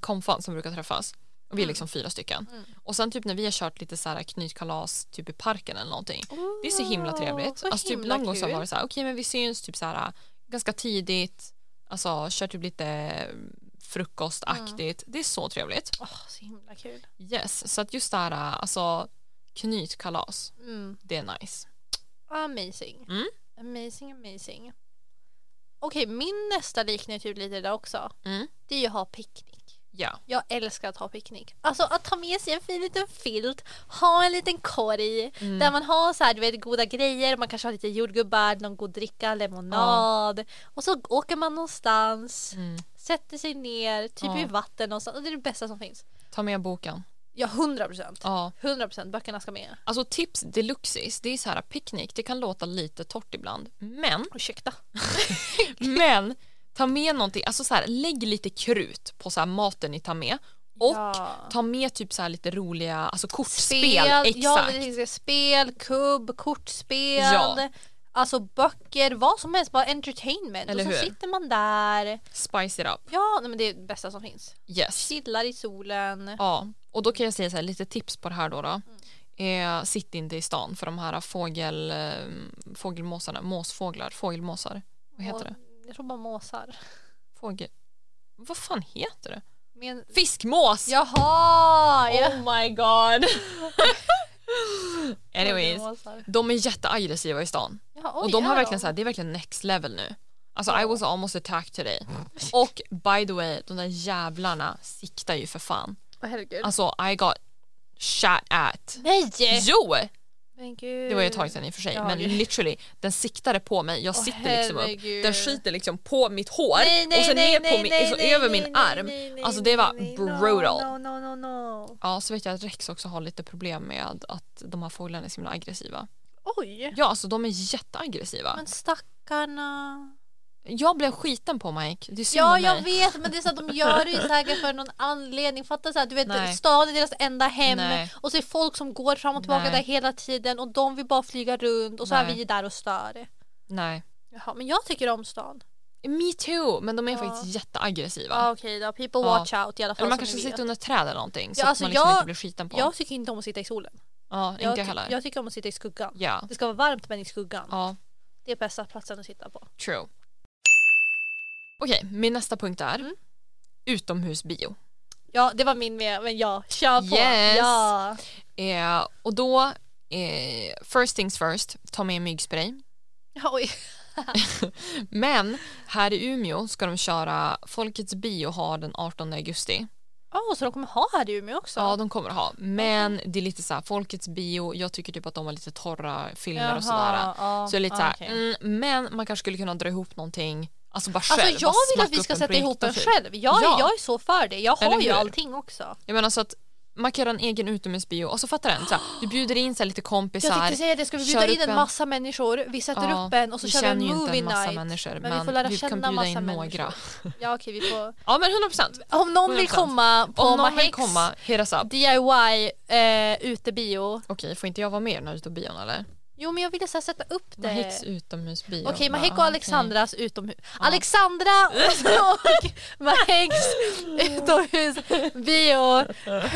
konfan som brukar träffas och
Mm.
vi är liksom fyra stycken. Och sen typ när vi har kört lite så här knytkalas typ i parken eller någonting. Det är så himla trevligt.
så
alltså, typ
himla
någon gång så
kul.
var det så här, okej men vi syns typ så här ganska tidigt, alltså kör typ lite frukostaktigt. Det är så trevligt.
Åh, så himla kul.
Yes, så att just det här alltså knytkalas,
Mm.
det är nice.
Amazing.
Mm.
Amazing, amazing. Okej, min nästa liknar typ lite det där också.
Mm.
Det är ju att ha picknick.
Ja,
Jag älskar att ha picknick. Alltså att ta med sig en fin liten filt, ha en liten korg
Mm.
där man har så här, du vet, goda grejer, man kanske har lite jordgubbar, någon god dricka, lemonad och så åker man någonstans,
Mm.
sätter sig ner, typ
Ja.
i vatten någonstans och det är det bästa som finns.
ta med boken.
Ja, 100 procent.
Ja.
100 procent, böckerna ska med.
Alltså tips deluxis, det är så här picknick, det kan låta lite torrt ibland, men,
Ursäkta.
men ta med någonting, alltså så här, lägg lite krut på så här maten ni tar med och
Ja.
ta med typ så här lite roliga, alltså kortspel,
Ja,
exakt.
det finns det spel, kubb, kortspel,
Ja.
alltså böcker, vad som helst, bara entertainment.
Eller
och så
hur?
sitter man där.
Spice it up,
Ja, nej, men det är det bästa som finns.
yes.
Chillar i solen.
Ja, och då kan jag säga så här, lite tips på det här då. då. Eh, sitt inte i stan för de här fågel, eh, fågelmåsarna, måsfåglar, fågelmåsar. Vad heter
och,
det?
Jag tror bara måsar.
Fågel... Vad fan heter det?
Men,
Fiskmås!
jaha! ja.
Oh my god! Anyways,
Måsar.
de är jätteaggressiva i stan.
Ja, oj,
Och de har
är
verkligen så här, det är verkligen next level nu. Alltså I was almost attacked today. Och by the way, de där jävlarna siktar ju för fan.
Åh, herregud.
Alltså I got shot at.
nej!
Jo!
Men gud.
Det var ju ett tag sedan i och för sig
Eh, Ja,
men
gud.
literally den siktade på mig, jag
Åh,
sitter liksom upp,
herregud.
den skiter liksom på mitt hår
Nej, nej,
och sen
nej,
ner
nej,
på min,
nej,
så
nej,
över
nej,
min
nej,
arm.
nej, nej,
alltså det var
nej, nej.
brutal.
No, no, no, no, no.
Ja så vet jag att Rex också har lite problem med att de här fåglarna är så himla aggressiva.
Oj!
Ja alltså de är jätteaggressiva.
Men stackarna.
Jag blev skiten på Mike, det är synd
Ja
om
jag
mig.
vet men det är så att de gör det ju säkert för någon anledning. Fatta så här, du vet
Nej.
stan är deras enda hem
Nej.
och så är folk som går fram och tillbaka
Nej.
där hela tiden och de vill bara flyga runt och så
Nej.
är vi där och stör.
Nej.
Jaha, men jag tycker om stan.
Me too men de är
Ja.
faktiskt jätteaggressiva.
Ja okej då, people
Ja.
watch out i alla fall.
Eller man
som
kanske
vi vet.
sitter under ett träd eller någonting så
Ja,
att
alltså
man liksom
jag-
inte blir skiten på.
Jag tycker inte om att sitta i solen.
Ja, inte
Jag,
jag
ty-
heller.
jag tycker om att sitta i skuggan.
Ja,
Det ska vara varmt men i skuggan.
ja,
Det är bästa platsen att sitta på.
true. Okej, min nästa punkt är
Mm.
utomhusbio.
Ja, det var min med, men ja, kör på!
Yes.
Ja.
Eh, och då, eh, first things first, ta med myggspray.
Ja, Oj.
Men här i Umeå ska de köra Folkets bio har den 18 augusti.
Oh, så de kommer ha här i Umeå också?
Ja, de kommer att ha. Men det är lite så här, Folkets bio, jag tycker typ att de har lite torra filmer och sådär.
Jaha, ja,
Så jag är lite
ja,
så här,
okej.
mm, men man kanske skulle kunna dra ihop någonting, alltså bara själv.
Alltså jag
bara
vill
smacka
att vi ska
upp en
sätta ihop en
projektor, typ.
själv. Jag,
Ja.
jag är så för det. Jag
Eller
har ju
hur?
allting också.
Jag menar så att man kan göra en egen utomhusbio och så fattar den, så här, du bjuder in så här, lite kompisar.
Jag tänkte säga det, ska vi bjuda
kör
in
upp
en
en-
massa människor, vi sätter
Ja,
upp en och så
vi
kör vi en
känner ju inte
movie
en massa
night.
människor
men vi får lära känna
kan bjuda
massa
in några.
människor. Ja okej, vi får...
Ja men 100 procent.
Om någon vill
100%.
komma på
Om någon vill
Mahex
komma, hit us up.
DIY eh, utebio.
Okej, får inte jag vara med i den här utobion eller?
Jo men jag ville så här sätta upp det.
Maheks utomhusbio.
Okej,
Bara, ah,
Mahek och
okej.
Alexandras utomhus. Alexandra och så- och Maheks utomhusbio.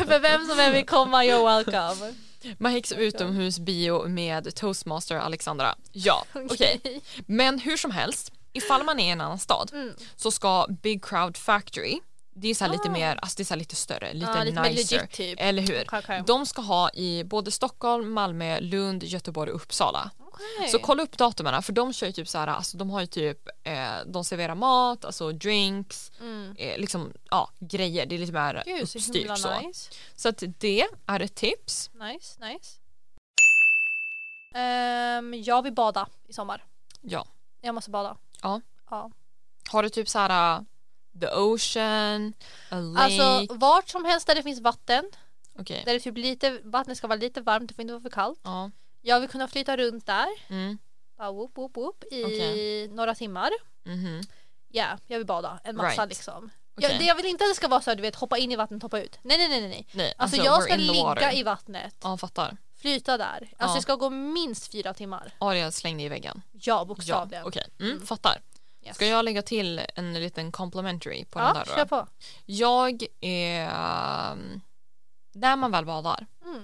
För vem som än vill komma, you're welcome.
Maheks utomhusbio med toastmaster Alexandra. Ja, okej. Men hur som helst, ifall man är i en annan stad
Mm.
så ska Big Crowd Factory, det är så här lite
Ah.
mer, alltså det är så här lite större, lite,
Ja, lite mer
nicer.
legit typ.
Eller hur?
Okej, okej.
De ska ha i både Stockholm, Malmö, Lund, Göteborg och Uppsala.
Okej.
Så kolla upp datumen för de kör ju typ så här, alltså de har ju typ, eh, de serverar mat, alltså drinks,
Mm.
eh, liksom ja, grejer, det är lite mer
Gud, så himla
uppstyrt så.
nice.
Så att det är ett tips.
Nice, nice. Ehm, jag vill bada i sommar.
Ja.
Jag måste bada.
Ja.
ja.
Har du typ så här uh, the ocean, a lake,
Alltså vart som helst där det finns vatten,
okej.
där det typ lite, vattnet ska vara lite varmt, det får inte vara för kallt.
Ja.
Jag vill kunna flyta runt där,
Mm.
bara whoop, whoop, whoop, i
Okej.
några timmar.
Mhm.
Ja, jag vill bada en massa
Right.
liksom.
Okej.
Jag, det jag vill inte att det ska vara så här, du vet, hoppa in i vattnet, hoppa ut. Nej, nej, nej, nej, nej.
Nej,
Alltså,
we're
jag ska
in the
ligga
water.
i vattnet,
Ja, fattar.
flyta där. Alltså
Ja.
det ska gå minst fyra timmar.
Ariel slängde i väggen.
Ja,
Ja,
bokstavligen.
okej. Mm, Fattar.
Yes.
Ska jag lägga till en liten complimentary på
ja,
den där
kör
då?
på.
Jag är... um, När man väl badar,
Mm.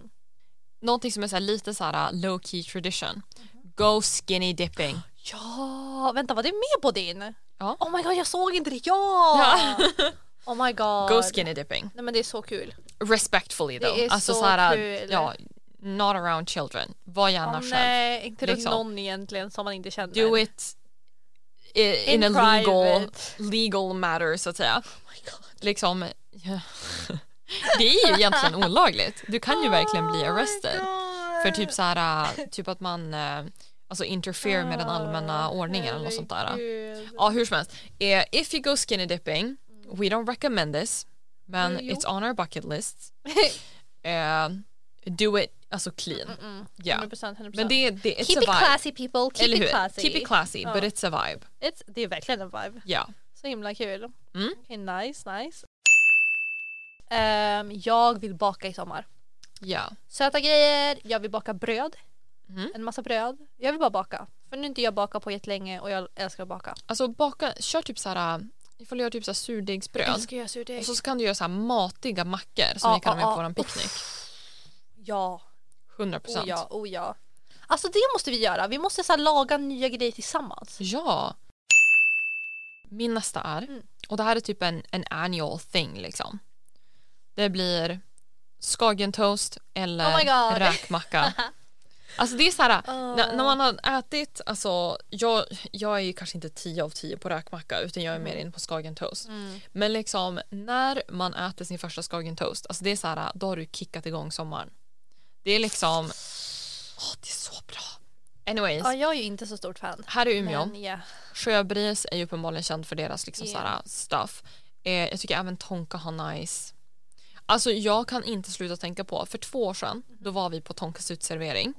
någonting som är så här lite så här low key tradition.
Mhm.
Go skinny dipping.
Ja, vänta var det med på din?
Ja.
Oh my god jag såg inte det, ja! oh my god.
Go skinny dipping.
Nej men det är så kul.
Respectfully
Det
though. Alltså
är så
här,
kul.
Ja, not around children. Var gärna
Åh,
själv.
nej, inte runt
liksom.
någon egentligen som man inte känner.
Do it i- in,
In
a legal,
private.
legal matter så att säga.
Oh my god.
Liksom, det är ju egentligen olagligt. Du kan ju verkligen bli
Oh my
arrested.
god.
För
Eh.
typ så här, äh, typ att man äh, alltså interfere med den allmänna
Ah,
ordningen eller något sånt där.
herregud.
Ja, hur som helst. Eh, If you go skinny dipping, we don't recommend this, men
Mm, jo.
it's on our bucket list. Eh, do it, alltså clean.
Mm,
Ja.
100%, 100%.
Men det, det it's
Keep
a
it
vibe.
classy people, keep
eller hur?
it classy.
Keep it classy,
Ja.
but it's a vibe.
It's, det är verkligen en vibe.
Ja.
Så himla kul.
Mm.
Okej, nice, nice. Ehm, jag vill baka i sommar.
Ja.
Söta grejer, jag vill baka bröd.
Mhm.
En massa bröd. Jag vill bara baka. För nu har inte jag bakat på jättelänge och jag älskar att baka.
Alltså baka, kör typ så här, ifall du gör typ så här surdegsbröd
älskar att göra surdeg.
och så kan du göra så här matiga mackor som
Ja,
vi kan ha med
ja,
på
ja.
våran picknick.
Ja,
100
oh
procent.
ja, oh ja. Alltså det måste vi göra. Vi måste så här laga nya grejer tillsammans.
Ja. Min nästa är,
Mm.
och det här är typ en, en annual thing liksom. Det blir skagentoast
Oh my
eller
God.
räkmacka. Alltså det är så här,
Oh.
när, när man har ätit, alltså jag, jag är ju kanske inte 10 av 10 på räkmacka utan jag är
Mm.
mer in på skagentoast. Men liksom när man äter sin första skagentoast, alltså det är så här, då har du kickat igång sommaren. Det är liksom, åh det är så bra. Anyways,
Ja, jag är ju inte så stort fan.
här i Umeå
Men ja.
Sjöbris är ju uppenbarligen känd för deras liksom
Yeah.
såhär stuff. Eh, jag tycker även Tonka har nice. Alltså jag kan inte sluta tänka på, för två år sedan
Mhm.
då var vi på Tonkas utservering.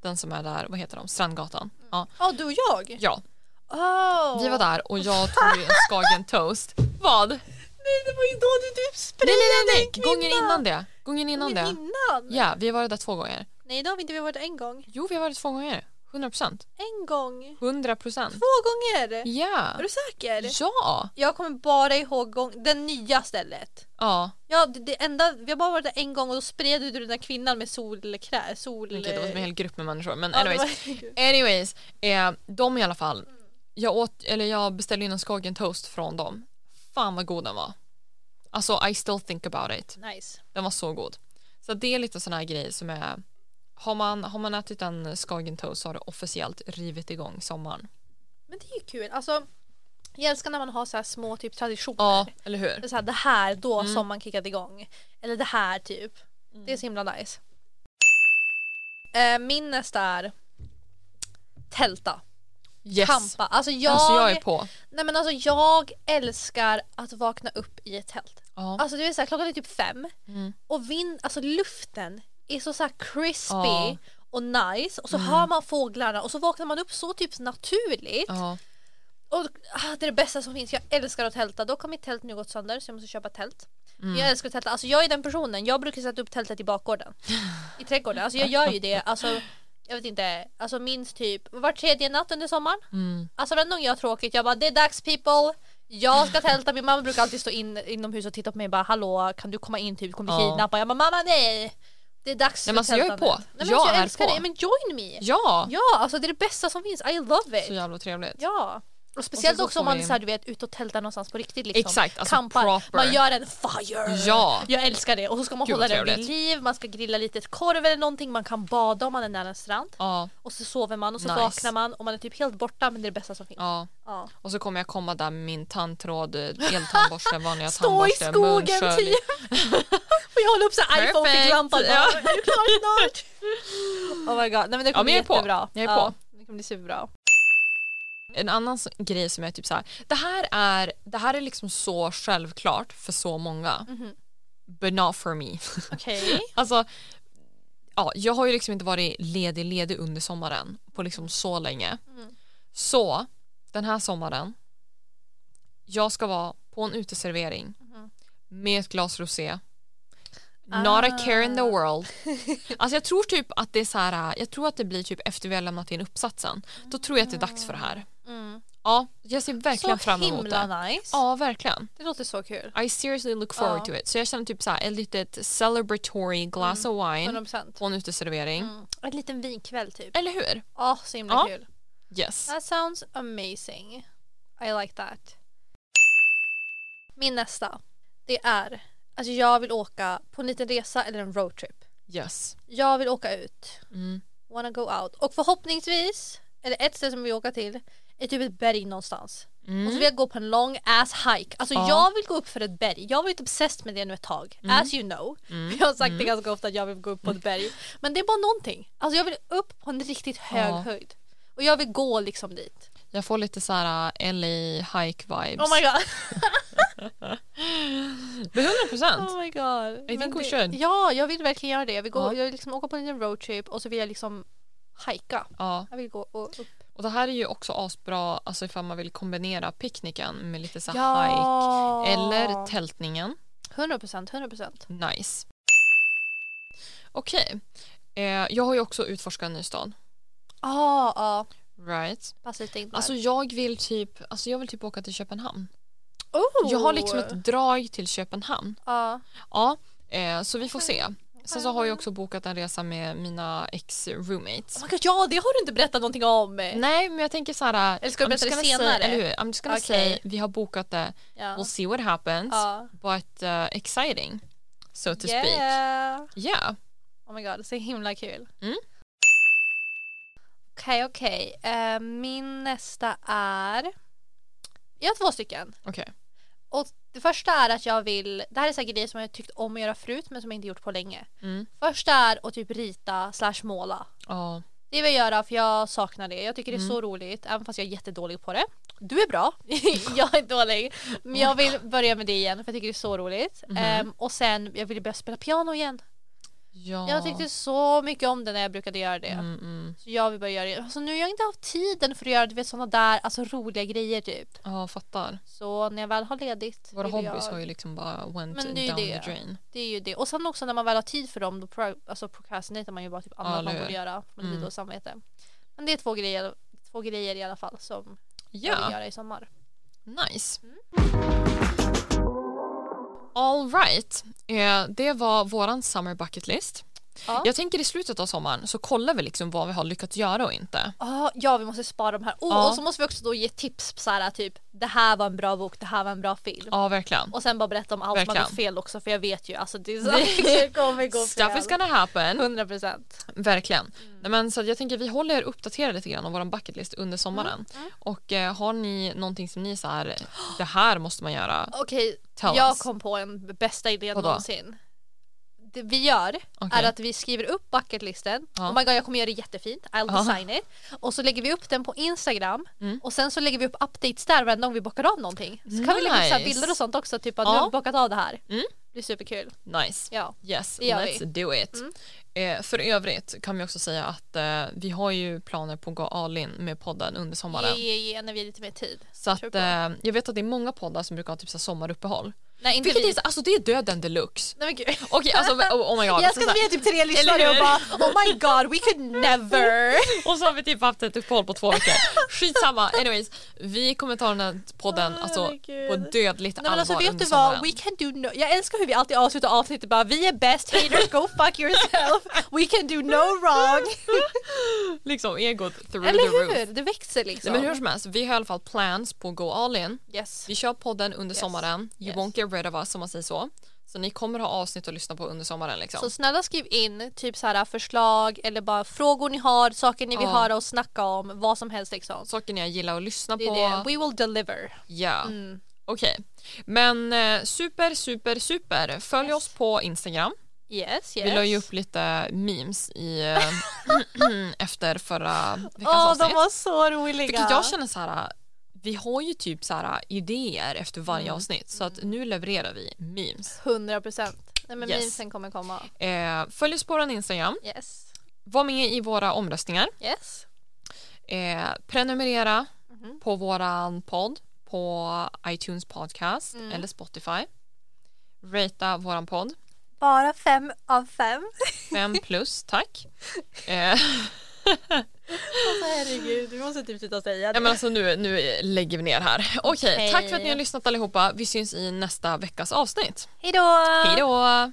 Den som är där, vad heter de, Strandgatan. Ja,
Ja, du och jag?
ja,
Oh.
vi var där och jag tog ju en skagen toast. Vad? Nej
Nej, det var ju då du typ
nej
sprayade
nej,
en
nej. gången
kvinna.
innan det. Gången innan
Men
det.
Innan?
Ja, vi har varit där två gånger.
Nej, då har vi inte vi varit en gång.
Jo vi har varit två gånger. 100%. 100 procent.
En gång.
100 procent.
Två gånger! Är
Ja.
du säker?
Ja.
Jag kommer bara ihåg gång, den nya stället.
Ja.
Ja, det, det enda, vi har bara varit där en gång och då spred du den där kvinnan med solkrä, sol... eh,
Okej, det var som en hel grupp med människor. Men
Ja, det
anyways.
var-
Anyways, eh, de i alla fall. Jag, åt, eller jag beställde in en Skagen toast från dem. Fan vad god den var. Alltså I still think about it.
Nice.
Den var så god. Så det är lite sådana här grejer som är har man, har man ätit en Skagen toast så har det officiellt rivit igång sommaren.
Men det är ju kul. Alltså, jag älskar när man har så här små typ traditioner.
Ja, eller hur?
Det är Så här, det här då
Mm.
som man kickade igång. Eller det här typ. Det är så himla nice. Eh, min nästa är tälta,
Yes.
campa. Alltså jag,
Alltså jag är på.
nej men alltså jag älskar att vakna upp i ett tält.
Ja.
Alltså du är så här, klockan är typ fem
Mm.
och vind, alltså luften är så, så här crispy
Ja. Mm.
och nice och så hör man fåglarna och så vaknar man upp så typ naturligt.
Ja.
Och, ah, det är det bästa som finns. Jag älskar att tälta. Dock har mitt tält nu gått sönder så jag måste köpa tält.
Mm.
Men jag älskar att tälta. Alltså jag är den personen. Jag brukar sätta upp tältet i bakgården. I trädgården. Alltså jag gör ju det. Alltså jag vet inte. Alltså minst typ var tredje natt under sommaren.
Mm.
Alltså varenda gång jag har tråkigt. Jag bara det är dags people. Jag ska tälta. Min mamma brukar alltid stå in, inomhus och titta på mig och bara hallå kan du komma in typ. Du kommer bli
Ja.
kidnappad. Jag bara mamma nej. Det är dags
Nej, men
för
alltså, jag är
tältandet.
på.
Nej, men
Jag
alltså, jag
är
älskar
på.
det. Men join me.
ja.
Ja alltså det är det bästa som finns. I love it.
Så jävla trevligt.
Ja. Och speciellt
så
också om
får
man
vi-
så här, du vet, ut och tältar någonstans på riktigt. Liksom.
Exakt, alltså
Campar.
proper.
Man gör en fire.
Ja.
Jag älskar det. Och så ska man
Gud,
hålla
vad
den vid
trevligt.
liv, man ska grilla lite korv eller någonting, man kan bada om man är nära en strand.
Ja.
Och så sover man och så
Nice.
vaknar man och man är typ helt borta men det är det bästa som finns.
ja.
Ja.
Och så kommer jag komma där med min tandtråd, eh, eltandborste, vanliga
Stå i
tandborste,
skogen
munskölj.
typ. och jag håller upp så här
Perfect.
iPhone-ficklampan.
Ja.
Ja. Är du klar snart? oh my god. Nej men det kommer
Ja, men
bli
jag är på.
jättebra.
Jag är
Ja, det kommer bli superbra.
En annan s- grej som är typ så här, det här är, det här är liksom så självklart för så många. But not for me.
Okej.
alltså, ja, jag har ju liksom inte varit ledig, ledig under sommaren på liksom så länge.
Mm.
Så den här sommaren, jag ska vara på en uteservering
Mhm.
med ett glas rosé. Not a care in the
Ah.
world. Alltså jag tror typ att det är så här, jag tror att det blir typ efter vi har lämnat in uppsatsen. Då tror jag att det är dags för det här.
Mm.
Ja, jag ser verkligen
så
fram emot det.
himla nice.
Ja, verkligen.
Det låter så kul.
I seriously look forward
Ja.
to it. Så jag känner typ så här, ett litet celebratory glass of wine
100%.
på en uteservering.
Mm. En liten vinkväll typ.
Eller hur?
Åh, så himla
Eh. Ja.
kul.
Yes.
That sounds amazing. I like that. Min nästa, det är alltså jag vill åka på en liten resa eller en roadtrip.
Yes.
Jag vill åka ut,
Mm.
wanna go out. Och förhoppningsvis, eller ett ställe som vi åker till, är typ ett berg någonstans. Och så vill jag gå på en long ass hike. Alltså
Mm. Ja. Mm.
jag vill gå upp för ett berg. Jag har varit obsessed med det nu ett tag. As you know. Jag har sagt det ganska ofta att jag vill gå upp på ett berg. Men det är bara någonting. Alltså jag vill upp på en riktigt hög
Ja.
höjd. Och jag vill gå liksom dit.
Jag får lite så här äh, LA hike vibes.
Oh my god.
Men 100 procent.
Oh my god.
I
Men
think we
det-
should.
Ja, jag vill verkligen göra det. Jag vill, gå,
Ja.
jag vill liksom åka på en liten roadtrip och så vill jag liksom hajka.
Ja.
Jag vill gå och upp.
Och det här är ju också asbra alltså ifall man vill kombinera picknicken med lite så här hike
Ja.
eller tältningen.
100%, 100%.
Nice. Okej. Eh, jag har ju också utforskat en ny stad.
Ja, ja.
Right.
Passa lite in där.
Alltså jag vill typ, alltså jag vill typ åka till Köpenhamn.
oh.
Jag har liksom ett drag till Köpenhamn.
Ja.
Ja, eh, så vi får se. Sen så har jag också bokat en resa med mina ex-roommates.
Oh my god, ja, det har du inte berättat någonting om.
Nej, men jag tänker så här... eh,
Eller ska du
I'm just
berätta det
gonna
senare?
Say, eller hur? I'm just gonna
Okej.
say, vi har bokat det.
Ja.
We'll see what happens.
Ja.
But uh, exciting, so to speak.
Yeah.
Yeah.
Oh my god, så himla kul.
Mm.
Okej, okej. Eh, min nästa är... Jag har två stycken.
Okej.
Och det första är att jag vill... Det här är säkert grejer som jag tyckt om att göra förut men som jag inte gjort på länge.
Mm.
Första är att typ rita slash måla.
Ja.
Det vill jag göra för jag saknar det. Jag tycker det är
Mm.
så roligt även fast jag är jättedålig på det. Du är bra, jag är dålig. Men jag vill börja med det igen för jag tycker det är så roligt.
Mhm.
Ehm, och sen, jag vill börja spela piano igen.
ja.
Jag tyckte så mycket om det när jag brukade göra det.
Mm, mm.
Så jag vill börja göra det. Alltså, nu har jag inte haft tiden för att göra du vet, sådana där alltså, roliga grejer typ.
Ja, fattar.
Så när jag väl har ledigt
Våra
vill
hobbies
jag...
har ju liksom bara went
Men
down
det är ju det.
the drain.
Det är ju det. Och sen också när man väl har tid för dem då pro- alltså prokrastinerar man ju bara typ annat
eller
man
hur.
borde göra. Man
Mm.
mm. och samvete. Men det är två grejer, två grejer i alla fall som jag vill
Ja,
göra i sommar.
nice.
Mm.
All right. Eh, Det var våran summer bucket list.
Ja.
Jag tänker i slutet av sommaren så kollar vi liksom vad vi har lyckats göra och inte.
Ah, ja, vi måste spara de här. Oh,
Ja.
Och så måste vi också då ge tips på så här, typ det här var en bra bok, det här var en bra film.
Ja, verkligen.
Och sen bara berätta om allt man
Verkligen.
gjort fel också för jag vet ju alltså det är så det kommer gå
Stuff
fel.
is gonna happen.
100 procent.
Verkligen.
Mm.
Nej, men, så att jag tänker vi håller er uppdaterade lite grann om vår bucketlist under sommaren.
Mm,
Och eh, har ni någonting som ni så här, det här måste man göra.
Okej,
Tell
jag
us.
kom på en bästa idé
Vadå?
någonsin. Det vi gör
Okej.
är att vi skriver upp bucketlisten.
Ja.
Oh my god jag kommer göra det jättefint, I'll
Ja.
design it. Och så lägger vi upp den på Instagram
Mm.
och sen så lägger vi upp updates där varenda gång vi bockar av någonting. Så kan vi lägga upp så här
Nice.
bilder och sånt också, typ att
Ja.
nu har vi bockat av det här.
Mm.
Det blir superkul.
Nice.
Ja.
Yes,
Det gör
let's
vi.
do it.
Mm.
Eh, för övrigt kan vi också säga att eh, vi har ju planer på att gå all in med podden under sommaren.
Ge, ge, ge när vi har lite mer tid.
Så att,
Kör på.
eh, jag vet att det är många poddar som brukar ha typ så här
Mm.
sommaruppehåll.
Nej inte
Vilket
vi.
är, så- alltså det är döden deluxe.
Nej, men gud.
Okej, alltså oh, oh my god.
Jag
Alltså,
ska
så här-
vi är typ tre
Eller
lyssnare och
hur?
bara oh my god we could never.
Och så har vi typ haft ett uppehåll på två veckor. Skitsamma, anyways. Vi kommer ta den här podden
Åh,
alltså,
herregud.
på dödligt
Nej men alltså
allvar
vet
under
du vad,
sommaren.
we can do no Jag älskar hur vi alltid avslutar avsnittet bara vi är bäst, haters go fuck yourself, we can do no wrong.
Liksom egot through
Eller
the roof.
hur? Det växer liksom.
Nej, men hur som helst, vi har i alla fall plans på att go all in.
Yes.
Vi kör podden under
Yes.
sommaren. You
Yes.
won't get rid of us om man säger så. Så ni kommer ha avsnitt att lyssna på under sommaren liksom.
Så snälla skriv in typ så här förslag eller bara frågor ni har, saker ni vill
Ja.
höra och snacka om, vad som helst liksom.
Saker ni gillar att lyssna
Det är
på.
det. We will deliver.
Ja,
Mm.
okej. Men eh, super, super, super. Följ
Yes.
oss på Instagram.
Yes, yes.
Vi la ju upp lite memes i, eh, efter förra veckans
Åh,
avsnitt.
de var så roliga.
Vilket jag känner så här, vi har ju typ så här idéer efter varje
Mm.
avsnitt så att nu levererar vi memes.
100 procent. Nej men
Yes.
memesen kommer komma.
Eh, följ oss på vår Instagram,
Yes.
var med i våra omröstningar,
Yes.
eh, prenumerera
Mhm.
på våran podd på iTunes podcast
Mm.
eller Spotify. Rata våran podd,
Bara fem av fem.
5 plus tack. Eh,
Herregud, vi måste typ sluta säga
ja, men alltså nu, nu lägger vi ner här. Okej,
Okej.
tack för att ni har lyssnat allihopa. Vi syns i nästa veckas avsnitt.
Hej då!
Hej då!